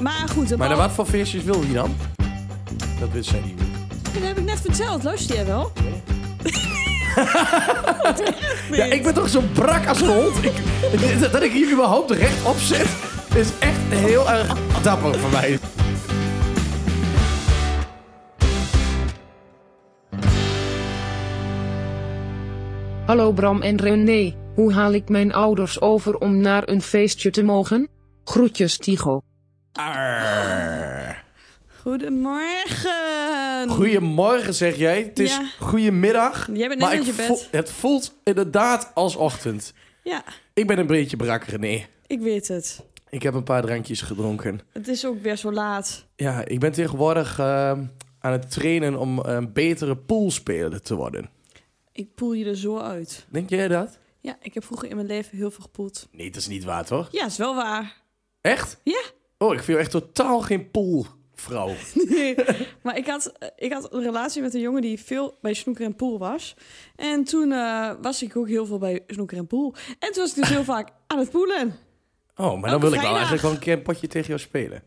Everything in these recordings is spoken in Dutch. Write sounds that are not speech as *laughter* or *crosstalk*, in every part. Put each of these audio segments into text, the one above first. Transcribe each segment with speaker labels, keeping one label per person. Speaker 1: Maar goed, de
Speaker 2: Maar naar
Speaker 1: bal-
Speaker 2: wat voor visjes wil hij dan? Dat wist zij niet.
Speaker 1: dat heb ik net verteld. Luister jij wel?
Speaker 2: Ja, ik ben toch zo brak als een hond. Ik, dat- dat ik *laughs* hier überhaupt rechtop zit, is echt heel erg dapper voor mij.
Speaker 3: Hallo Bram en René, hoe haal ik mijn ouders over om naar een feestje te mogen? Groetjes Tigo.
Speaker 2: Arr.
Speaker 1: Goedemorgen.
Speaker 2: Goedemorgen zeg jij. Het is
Speaker 1: Ja.
Speaker 2: goedemiddag.
Speaker 1: Jij bent net
Speaker 2: maar
Speaker 1: uit
Speaker 2: ik
Speaker 1: je bed.
Speaker 2: voel- het voelt inderdaad als ochtend.
Speaker 1: Ja,
Speaker 2: Ik ben een beetje brak, René.
Speaker 1: ik weet het.
Speaker 2: Ik heb een paar drankjes gedronken.
Speaker 1: Het is ook weer zo laat.
Speaker 2: Ja, ik ben tegenwoordig ehm, aan het trainen om een betere poolspeler te worden.
Speaker 1: Ik poel je er zo uit.
Speaker 2: Denk jij dat?
Speaker 1: Ja, ik heb vroeger in mijn leven heel veel gepoeld.
Speaker 2: Nee, dat is niet waar, toch?
Speaker 1: Ja, is wel waar.
Speaker 2: Echt?
Speaker 1: Ja. *laughs*
Speaker 2: Oh, ik viel echt totaal geen poolvrouw. Oh,
Speaker 1: Nee. maar ik had, ik had een relatie met een jongen die veel bij snoeker en pool was. En toen eh, was ik ook heel veel bij snoeker en pool. En toen was ik dus heel vaak aan het poelen.
Speaker 2: Oh, maar
Speaker 1: Elke
Speaker 2: dan wil ik wel
Speaker 1: vrijdag.
Speaker 2: eigenlijk gewoon een keer een potje tegen jou spelen.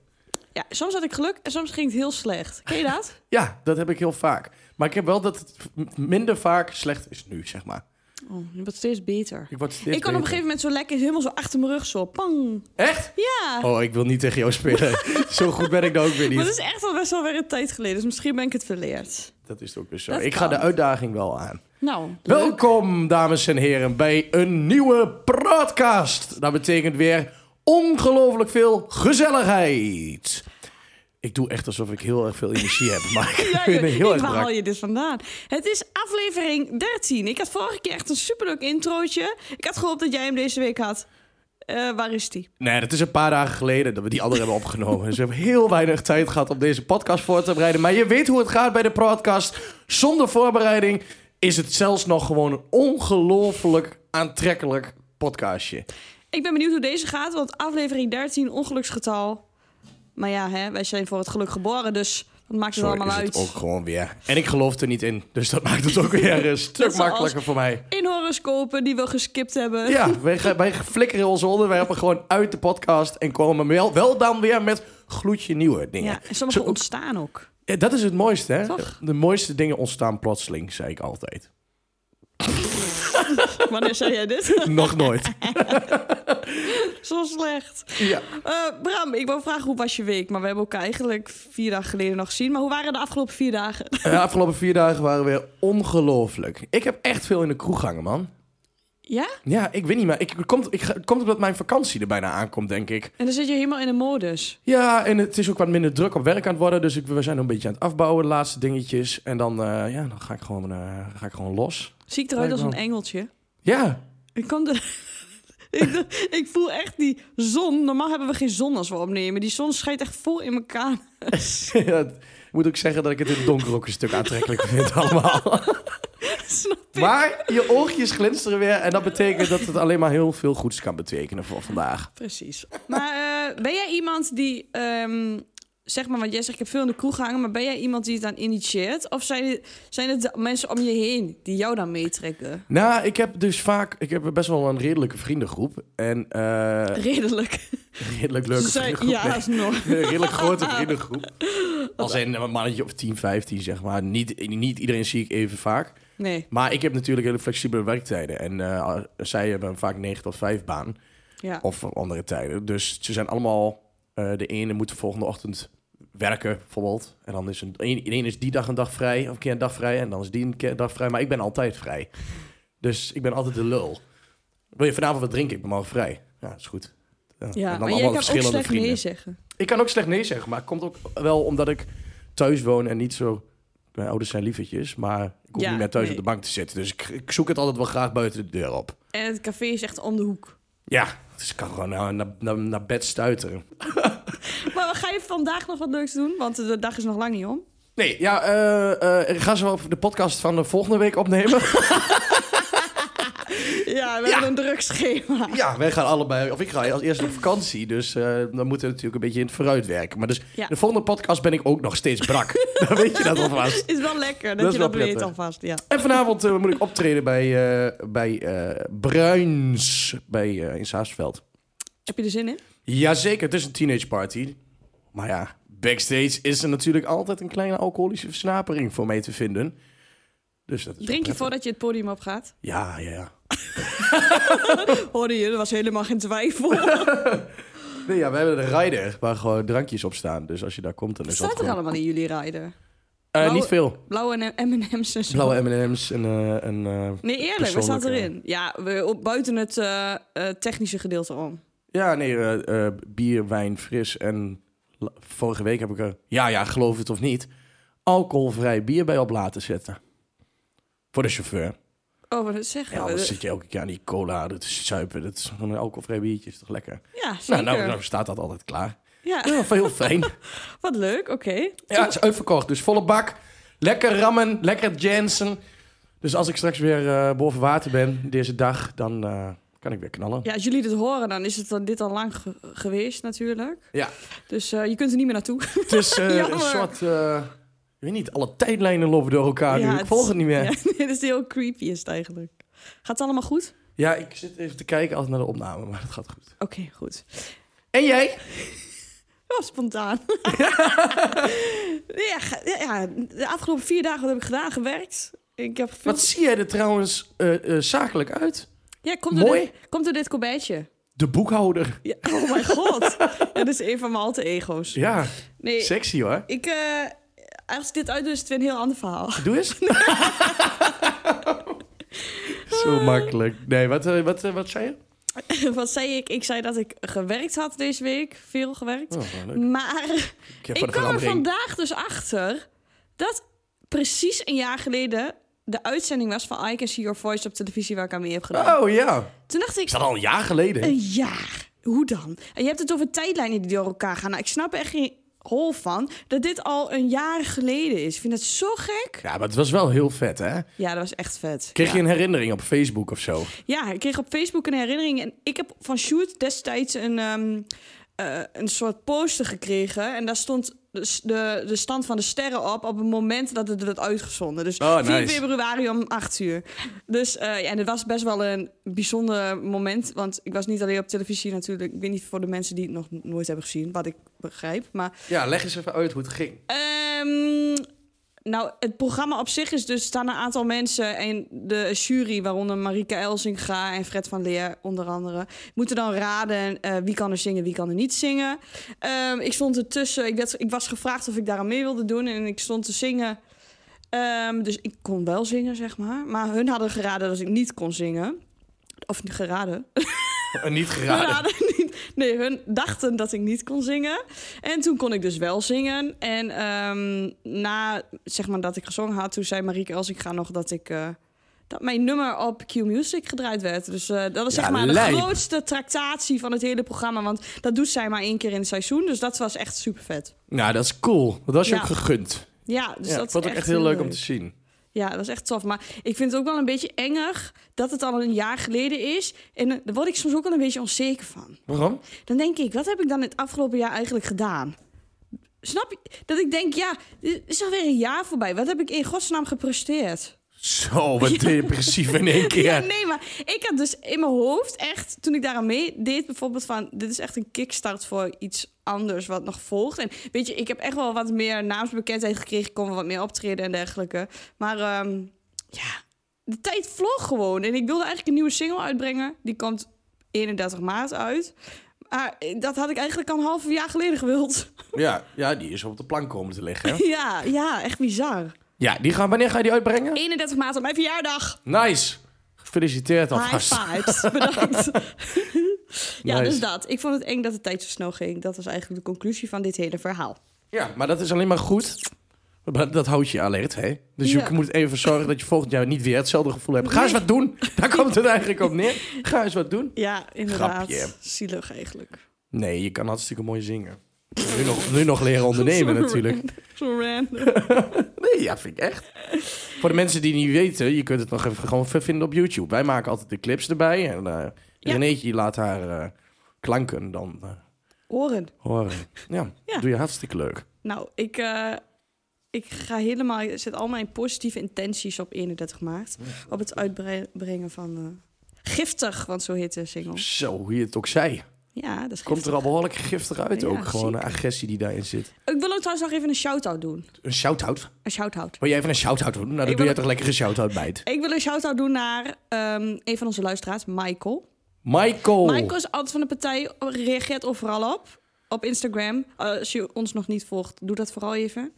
Speaker 1: Ja, soms had ik geluk en soms ging het heel slecht. Ken je dat?
Speaker 2: Ja, dat heb ik heel vaak. Maar ik heb wel dat het m- minder vaak slecht is nu, zeg maar.
Speaker 1: Oh, je wordt steeds beter.
Speaker 2: Ik, word
Speaker 1: Ik
Speaker 2: steeds
Speaker 1: kan op een
Speaker 2: beter.
Speaker 1: gegeven moment zo lekker helemaal zo achter mijn rug zo. Pang.
Speaker 2: Echt?
Speaker 1: Ja.
Speaker 2: Oh, ik wil niet tegen jou spelen.
Speaker 1: *laughs*
Speaker 2: Zo goed ben ik nou ook weer
Speaker 1: Maar het
Speaker 2: niet.
Speaker 1: is echt al best wel weer een tijd geleden. Dus misschien ben ik het verleerd.
Speaker 2: Dat is ook weer zo.
Speaker 1: Dat
Speaker 2: Ik ga
Speaker 1: kan.
Speaker 2: de uitdaging wel aan.
Speaker 1: Nou,
Speaker 2: Welkom, dames en heren, bij een nieuwe podcast. Dat betekent weer ongelooflijk veel gezelligheid. Ik doe echt alsof ik heel erg veel energie heb, maar *laughs* ik
Speaker 1: Ja,
Speaker 2: ben heel
Speaker 1: ik,
Speaker 2: erg
Speaker 1: waar haal
Speaker 2: brak.
Speaker 1: je dit vandaan? Het is aflevering 13. Ik had vorige keer echt een superleuk introotje. Ik had gehoopt dat jij hem deze week had. Eh, waar is die?
Speaker 2: Nee, dat is een paar dagen geleden dat we die andere *laughs* hebben opgenomen. Dus we hebben heel weinig tijd gehad om deze podcast voor te bereiden. Maar je weet hoe het gaat bij de podcast. Zonder voorbereiding is het zelfs nog gewoon een ongelooflijk aantrekkelijk podcastje.
Speaker 1: Ik ben benieuwd hoe deze gaat, want aflevering 13, ongeluksgetal. Maar ja, hè, wij zijn voor het geluk geboren, dus wat maakt het
Speaker 2: Zo
Speaker 1: allemaal
Speaker 2: is
Speaker 1: uit?
Speaker 2: het ook gewoon weer. En ik geloof er niet in, dus dat maakt het ook weer een
Speaker 1: Net
Speaker 2: stuk
Speaker 1: zoals-
Speaker 2: makkelijker voor mij.
Speaker 1: In horoscopen die we geskipt hebben.
Speaker 2: Ja, wij, ga- wij flikkeren onze onderwerpen gewoon uit de podcast en komen wel, wel dan weer met gloedje nieuwe dingen.
Speaker 1: Ja, en sommige
Speaker 2: Zo-
Speaker 1: ontstaan ook.
Speaker 2: Ja, dat is het mooiste, hè?
Speaker 1: Toch?
Speaker 2: De mooiste dingen ontstaan plotseling, zei ik altijd.
Speaker 1: Wanneer zei jij
Speaker 2: *laughs*
Speaker 1: dit?
Speaker 2: Nog nooit.
Speaker 1: Zo slecht.
Speaker 2: Ja.
Speaker 1: Eh, Bram, ik wou vragen hoe was je week? Maar we hebben elkaar eigenlijk vier dagen geleden nog gezien. Maar hoe waren de afgelopen vier dagen?
Speaker 2: Eh, De afgelopen vier dagen waren weer ongelooflijk. Ik heb echt veel in de kroeg hangen, man.
Speaker 1: Ja?
Speaker 2: Ja, ik weet niet, maar ik, het, komt, ik, ga- het komt omdat mijn vakantie er bijna aankomt, denk ik.
Speaker 1: En dan zit je helemaal in de modus.
Speaker 2: Ja, en het is ook wat minder druk op werk aan het worden. Dus ik, we zijn nog een beetje aan het afbouwen, de laatste dingetjes. En dan, eh, ja, dan ga, ik gewoon, eh, ga ik gewoon los.
Speaker 1: Zie ik eruit als
Speaker 2: Lijkt
Speaker 1: een
Speaker 2: wel.
Speaker 1: engeltje?
Speaker 2: Ja, *laughs*
Speaker 1: Ik kan de... *laughs* ik, ik voel echt die zon. Normaal hebben we geen zon als we opnemen. Die zon schijnt echt vol in elkaar.
Speaker 2: Ja, het- ik moet ook zeggen dat ik het in het donker ook een stuk aantrekkelijker vind allemaal.
Speaker 1: Snap je?
Speaker 2: Maar je oogjes glinsteren weer en dat betekent dat het alleen maar heel veel goeds kan betekenen voor
Speaker 1: *laughs*
Speaker 2: vandaag.
Speaker 1: Precies. Maar eh, ben jij iemand die... ehm, zeg maar, want jij zegt ik heb veel in de kroeg hangen. Maar ben jij iemand die het dan initieert? Of zijn, zijn het de mensen om je heen die jou dan meetrekken?
Speaker 2: Nou, ik heb dus vaak, ik heb best wel een redelijke vriendengroep. En
Speaker 1: *laughs*
Speaker 2: eh
Speaker 1: Redelijk.
Speaker 2: redelijk leuke
Speaker 1: Ze zijn-
Speaker 2: vriendengroep.
Speaker 1: ja, *laughs* alsnog.
Speaker 2: nee. Een redelijk grote vriendengroep. Als in een mannetje of 10, 15 zeg maar. Niet, niet iedereen zie ik even vaak.
Speaker 1: Nee,
Speaker 2: Maar ik heb natuurlijk hele flexibele werktijden. En eh, zij hebben vaak 9 tot 5 baan.
Speaker 1: ja.
Speaker 2: Of andere tijden. Dus ze zijn allemaal... eh, de ene moet de volgende ochtend werken, bijvoorbeeld. En dan is een, een, de ene is die dag een dag vrij, of een keer een dag vrij. En dan is die een keer een dag vrij. Maar ik ben altijd vrij. Dus ik ben altijd de lul. Wil je vanavond wat drinken? Ik ben morgen vrij. Ja, dat is goed. Ja, en
Speaker 1: ja
Speaker 2: dan
Speaker 1: maar
Speaker 2: allemaal
Speaker 1: jij kan ook
Speaker 2: verschillende
Speaker 1: slecht
Speaker 2: vrienden.
Speaker 1: nee zeggen.
Speaker 2: Ik kan ook slecht nee zeggen, maar het komt ook wel omdat ik thuis woon en niet zo... Mijn ouders zijn lievertjes, maar ik hoef
Speaker 1: Ja,
Speaker 2: niet meer thuis
Speaker 1: nee.
Speaker 2: op de bank te zitten. Dus ik, ik zoek het altijd wel graag buiten de deur op.
Speaker 1: En het café is echt om de hoek.
Speaker 2: Ja, dus ik kan gewoon naar, naar- naar, naar bed stuiteren.
Speaker 1: Maar ga je vandaag nog wat leuks doen? Want de dag is nog lang niet om.
Speaker 2: Nee, ja, eh, eh, ik ga zo op de podcast van de volgende week opnemen.
Speaker 1: Ja, we
Speaker 2: Ja.
Speaker 1: hebben een druk schema.
Speaker 2: *laughs* ja, wij gaan allebei, of ik ga als eerste op vakantie. Dus eh, dan moeten we natuurlijk een beetje in het vooruit werken. Maar dus
Speaker 1: Ja.
Speaker 2: de volgende podcast ben ik ook nog steeds brak.
Speaker 1: *laughs*
Speaker 2: dan weet je dat alvast.
Speaker 1: *laughs* Is wel lekker dat,
Speaker 2: Dat is
Speaker 1: je
Speaker 2: wel
Speaker 1: dat weet
Speaker 2: prettig.
Speaker 1: alvast. Ja.
Speaker 2: En vanavond eh, moet ik optreden bij, eh, bij eh, Bruins bij, eh, in Saasveld.
Speaker 1: Heb je er zin in?
Speaker 2: Jazeker, het is een teenage party. Maar ja, backstage is er natuurlijk altijd een kleine alcoholische versnapering voor mee te vinden. Dus dat is wel
Speaker 1: Drink je
Speaker 2: prettig.
Speaker 1: voordat je het podium op gaat?
Speaker 2: Ja, ja, ja.
Speaker 1: Hoorde je, er was helemaal geen twijfel.
Speaker 2: *laughs* Nee, ja, we hebben de rider waar gewoon drankjes op staan. Dus als je daar komt, dan
Speaker 1: Wat
Speaker 2: is dat
Speaker 1: staat er
Speaker 2: gewoon-
Speaker 1: allemaal in jullie rijden?
Speaker 2: Eh,
Speaker 1: Blauwe-
Speaker 2: Niet veel.
Speaker 1: Blauwe en M&M's en zo.
Speaker 2: Blauwe M&M's en... eh, en eh,
Speaker 1: Nee, eerlijk, wat staat
Speaker 2: Persoonlijke.
Speaker 1: erin? Ja, we, op, buiten het eh, eh, technische gedeelte om.
Speaker 2: ja, nee, eh, eh, bier, wijn, fris en... la- Vorige week heb ik er, ja, ja, geloof het of niet, alcoholvrij bier bij op laten zetten. Voor de chauffeur.
Speaker 1: Oh, wat zeggen
Speaker 2: Ja,
Speaker 1: we?
Speaker 2: anders zit je elke keer aan die cola, dat is zuipen, dat is gewoon een alcoholvrij biertje, is toch lekker?
Speaker 1: Ja,
Speaker 2: Nou,
Speaker 1: zeker.
Speaker 2: nou, nou staat dat altijd klaar.
Speaker 1: Ja,
Speaker 2: *laughs* Ja, heel fijn.
Speaker 1: wat leuk, oké.
Speaker 2: Ja, het is uitverkocht. Dus volle bak. Lekker rammen. Lekker Jensen. Dus als ik straks weer eh, boven water ben deze dag, dan eh, kan ik weer knallen.
Speaker 1: Ja, als jullie dit horen, dan is het dan, dit al lang ge- geweest natuurlijk.
Speaker 2: Ja.
Speaker 1: Dus eh, je kunt er niet meer naartoe.
Speaker 2: Het is eh,
Speaker 1: *laughs* Jammer.
Speaker 2: een soort... eh, ik weet niet, alle tijdlijnen lopen door elkaar
Speaker 1: Ja,
Speaker 2: nu. Ik
Speaker 1: het
Speaker 2: volg
Speaker 1: is-
Speaker 2: het niet meer.
Speaker 1: *laughs* Ja,
Speaker 2: Ja,
Speaker 1: dit is heel creepy is het eigenlijk. Gaat het allemaal goed?
Speaker 2: ik zit even te kijken altijd naar de opname, maar dat gaat goed.
Speaker 1: Oké, goed.
Speaker 2: En jij?
Speaker 1: Oh,
Speaker 2: *laughs*
Speaker 1: spontaan. ja, ga- ja, ja, de afgelopen vier dagen wat heb ik gedaan? Gewerkt. Ik heb veel...
Speaker 2: Wat zie jij er trouwens eh, eh, zakelijk uit?
Speaker 1: Ja, komt door,
Speaker 2: mooi?
Speaker 1: dit, komt door dit kobijtje.
Speaker 2: De boekhouder. *laughs*
Speaker 1: Ja, oh mijn god. Ja, dat is een van mijn alter ego's.
Speaker 2: Ja,
Speaker 1: Nee,
Speaker 2: sexy hoor.
Speaker 1: ik... eh, als ik dit uitdoe, is het weer een heel ander verhaal. *laughs*
Speaker 2: Doe eens. *laughs* Zo makkelijk. Nee, wat, eh, wat, eh, wat zei je?
Speaker 1: *laughs* Wat zei ik? Ik zei dat ik gewerkt had deze week. Veel gewerkt.
Speaker 2: Oh, leuk.
Speaker 1: Maar
Speaker 2: Ik heb
Speaker 1: ik
Speaker 2: voor de
Speaker 1: kwam er
Speaker 2: verandering.
Speaker 1: vandaag dus achter dat precies een jaar geleden de uitzending was van I Can See Your Voice op televisie waar ik aan mee heb gedaan.
Speaker 2: Oh ja.
Speaker 1: Toen dacht ik,
Speaker 2: Is dat al een jaar geleden?
Speaker 1: een jaar? Hoe dan? En je hebt het over tijdlijnen die door elkaar gaan. Nou, ik snap er echt geen hol van dat dit al een jaar geleden is. Ik vind dat zo gek.
Speaker 2: Ja, maar het was wel heel vet, hè?
Speaker 1: Ja, dat was echt vet.
Speaker 2: Kreeg je een herinnering op Facebook of zo?
Speaker 1: Ja, ik kreeg op Facebook een herinnering. En ik heb van Sjoerd destijds een, ehm, eh, een soort poster gekregen. En daar stond de, s- de, de stand van de sterren op op het moment dat het werd uitgezonden. Dus
Speaker 2: Oh,
Speaker 1: 4
Speaker 2: nice.
Speaker 1: februari om 8 uur. Dus eh, ja, en het was best wel een bijzonder moment. Want ik was niet alleen op televisie natuurlijk. Ik weet niet voor de mensen die het nog nooit hebben gezien, wat ik begrijp. Maar
Speaker 2: Ja, leg eens even uit hoe het *laughs* ging.
Speaker 1: Ehm, nou, het programma op zich is dus staan een aantal mensen en de jury, waaronder Marika Elsinga en Fred van Leer onder andere, moeten dan raden eh, wie kan er zingen, wie kan er niet zingen. Ehm, ik stond ertussen, ik, werd, ik was gevraagd of ik daaraan mee wilde doen en ik stond te zingen. Ehm, dus ik kon wel zingen, zeg maar. Maar hun hadden geraden dat ik niet kon zingen. Of geraden.
Speaker 2: Eh, niet
Speaker 1: Hun
Speaker 2: geraden.
Speaker 1: hadden *laughs* niet, nee, hun dachten dat ik niet kon zingen. En toen kon ik dus wel zingen. En ehm, na zeg maar dat ik gezongen had, toen zei Marieke als ik ga nog dat ik. eh, dat mijn nummer op Q Music gedraaid werd. Dus eh, dat was
Speaker 2: Ja,
Speaker 1: zeg maar
Speaker 2: lijp.
Speaker 1: de grootste tractatie van het hele programma. Want dat doet zij maar één keer in het seizoen. Dus dat was echt super vet.
Speaker 2: Nou, dat is cool. Dat was je
Speaker 1: Ja.
Speaker 2: ook gegund.
Speaker 1: Ja, dus
Speaker 2: ja,
Speaker 1: dat
Speaker 2: ik vond
Speaker 1: is eh,
Speaker 2: het ook echt heel leuk om te zien.
Speaker 1: ja, dat was echt tof. Maar ik vind het ook wel een beetje enger dat het al een jaar geleden is. En eh, daar word ik soms ook wel een beetje onzeker van.
Speaker 2: Waarom?
Speaker 1: dan denk ik, wat heb ik dan het afgelopen jaar eigenlijk gedaan? Snap je? Dat ik denk, ja, dit is alweer een jaar voorbij. Wat heb ik in godsnaam gepresteerd?
Speaker 2: Zo, wat depressief in één keer.
Speaker 1: *laughs* Ja, nee, maar ik had dus in mijn hoofd echt, toen ik daaraan meedeed, bijvoorbeeld van, dit is echt een kickstart voor iets anders wat nog volgt. En weet je, ik heb echt wel wat meer naamsbekendheid gekregen, ik kon wel wat meer optreden en dergelijke. Maar ehm, ja, de tijd vloog gewoon. En ik wilde eigenlijk een nieuwe single uitbrengen. Die komt 31 maart uit. Maar eh, dat had ik eigenlijk al een half jaar geleden gewild. *laughs*
Speaker 2: Ja, ja, die is op de plank komen te liggen. hè?
Speaker 1: Ja, ja, echt bizar.
Speaker 2: Ja, die gaan, wanneer ga je die uitbrengen?
Speaker 1: 31 maart op mijn verjaardag.
Speaker 2: Nice. Gefeliciteerd
Speaker 1: High
Speaker 2: alvast.
Speaker 1: fives. *laughs*
Speaker 2: *laughs*
Speaker 1: Bedankt. ja,
Speaker 2: Nice.
Speaker 1: dus dat. Ik vond het eng dat de tijd zo snel ging. Dat was eigenlijk de conclusie van dit hele verhaal.
Speaker 2: Ja, maar dat is alleen maar goed. Maar Dat houdt je alert, hè? Dus
Speaker 1: Ja.
Speaker 2: je moet even zorgen dat je volgend jaar niet weer hetzelfde gevoel hebt. Ga eens wat doen. Daar komt het eigenlijk op neer. Ga eens wat doen.
Speaker 1: Ja, inderdaad.
Speaker 2: Grapje.
Speaker 1: Zielig
Speaker 2: *laughs*
Speaker 1: eigenlijk.
Speaker 2: Nee, je kan hartstikke mooi zingen. Nu nog, nu nog leren ondernemen
Speaker 1: Sorry.
Speaker 2: natuurlijk.
Speaker 1: *laughs* Zo random.
Speaker 2: Nee, ja, vind ik echt. Voor de mensen die niet weten, je kunt het nog even gewoon vinden op YouTube. Wij maken altijd de clips erbij. En eh
Speaker 1: Ja.
Speaker 2: Renéetje laat haar eh, klanken dan eh,
Speaker 1: Oren.
Speaker 2: horen. Ja,
Speaker 1: Ja.
Speaker 2: doe je hartstikke leuk.
Speaker 1: Nou, ik, eh, ik ga helemaal... Ik zet al mijn positieve intenties op 31 maart. Op het uitbrengen van... eh, Giftig, want zo heet de single.
Speaker 2: Zo, hoe je het ook zei.
Speaker 1: Ja, dat is
Speaker 2: Komt er al behoorlijk giftig uit
Speaker 1: Ja,
Speaker 2: ook. Gewoon de
Speaker 1: zeker.
Speaker 2: agressie die daarin zit.
Speaker 1: Ik wil ook trouwens nog even een shout-out doen.
Speaker 2: Een shout-out.
Speaker 1: Een shout-out.
Speaker 2: Wil jij even een shout-out doen? Nou, dan doe
Speaker 1: wil-
Speaker 2: jij toch lekker een shout-out bij het.
Speaker 1: Ik wil een shout-out doen naar ehm, een van onze luisteraars, Michael.
Speaker 2: Michael.
Speaker 1: Michael is altijd van de partij, reageert overal op. Op Instagram. Eh, als je ons nog niet volgt, doe dat vooral even.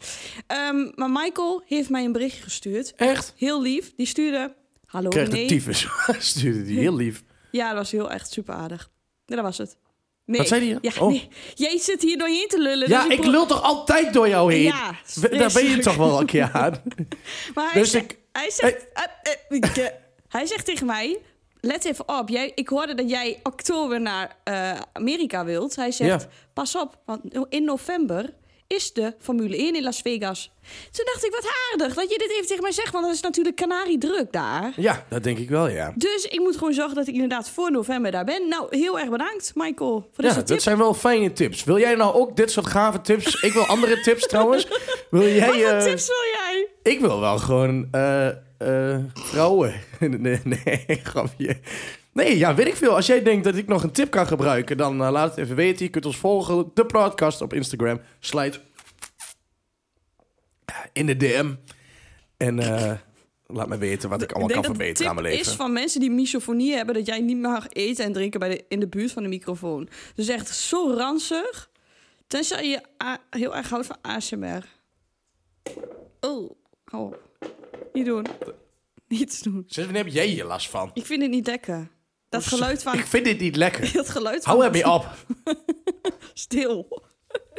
Speaker 1: Ehm, maar Michael heeft mij een berichtje gestuurd.
Speaker 2: Echt?
Speaker 1: Heel lief. Die stuurde... Hallo
Speaker 2: Krijgt de
Speaker 1: René.
Speaker 2: tyfus. *laughs* Stuurde die heel
Speaker 1: *laughs*
Speaker 2: lief.
Speaker 1: Ja, dat was heel echt super aardig. Ja, dat was het. Nee.
Speaker 2: Wat zei die?
Speaker 1: Ja,
Speaker 2: Oh.
Speaker 1: nee. Jij zit hier doorheen te lullen.
Speaker 2: Ja,
Speaker 1: dus
Speaker 2: ik
Speaker 1: pro-
Speaker 2: lul toch altijd door jou heen?
Speaker 1: Ja,
Speaker 2: We- Daar ben je
Speaker 1: vreselijk.
Speaker 2: toch wel een keer
Speaker 1: *laughs*
Speaker 2: aan.
Speaker 1: Maar hij,
Speaker 2: Dus
Speaker 1: zegt-
Speaker 2: ik-
Speaker 1: hij zegt... eh, eh, ik, eh, hij zegt tegen mij... Let even op. Jij, ik hoorde dat jij oktober naar eh, Amerika wilt. Hij zegt,
Speaker 2: Ja.
Speaker 1: pas op, want in november is de Formule 1 in Las Vegas. Toen dacht ik, wat aardig dat je dit even tegen mij zegt... want dat is natuurlijk kanariedruk daar.
Speaker 2: Ja, dat denk ik wel, ja.
Speaker 1: Dus ik moet gewoon zorgen dat ik inderdaad voor november daar ben. Nou, heel erg bedankt, Michael, voor deze
Speaker 2: Ja,
Speaker 1: tip.
Speaker 2: dat zijn wel fijne tips. Wil jij nou ook dit soort gave tips? Ik wil andere tips trouwens. Wil jij...
Speaker 1: Wat voor
Speaker 2: eh,
Speaker 1: tips wil jij?
Speaker 2: Ik wil wel gewoon eh, eh, vrouwen. *laughs* nee, nee, grapje. Nee, ja, weet ik veel. Als jij denkt dat ik nog een tip kan gebruiken, dan eh, laat het even weten. Je kunt ons volgen, de podcast op Instagram. Slijt in de DM. En eh, laat me weten wat ik allemaal kan
Speaker 1: ik denk dat
Speaker 2: verbeteren aan
Speaker 1: het
Speaker 2: mijn
Speaker 1: tip is
Speaker 2: leven.
Speaker 1: van mensen die misofonie hebben... dat jij niet mag eten en drinken bij de, in de buurt van de microfoon. Dus echt zo ranzig. Tenzij je a- heel erg houdt van ASMR. Oh, hou op. Niet doen. Niets doen.
Speaker 2: Sinds wanneer heb jij je last van?
Speaker 1: Ik vind het niet lekker. Dat geluid van... *laughs*
Speaker 2: *laughs* Ik vind dit niet lekker.
Speaker 1: Dat geluid van...
Speaker 2: Oh, Hou ermee op.
Speaker 1: *laughs* Stil.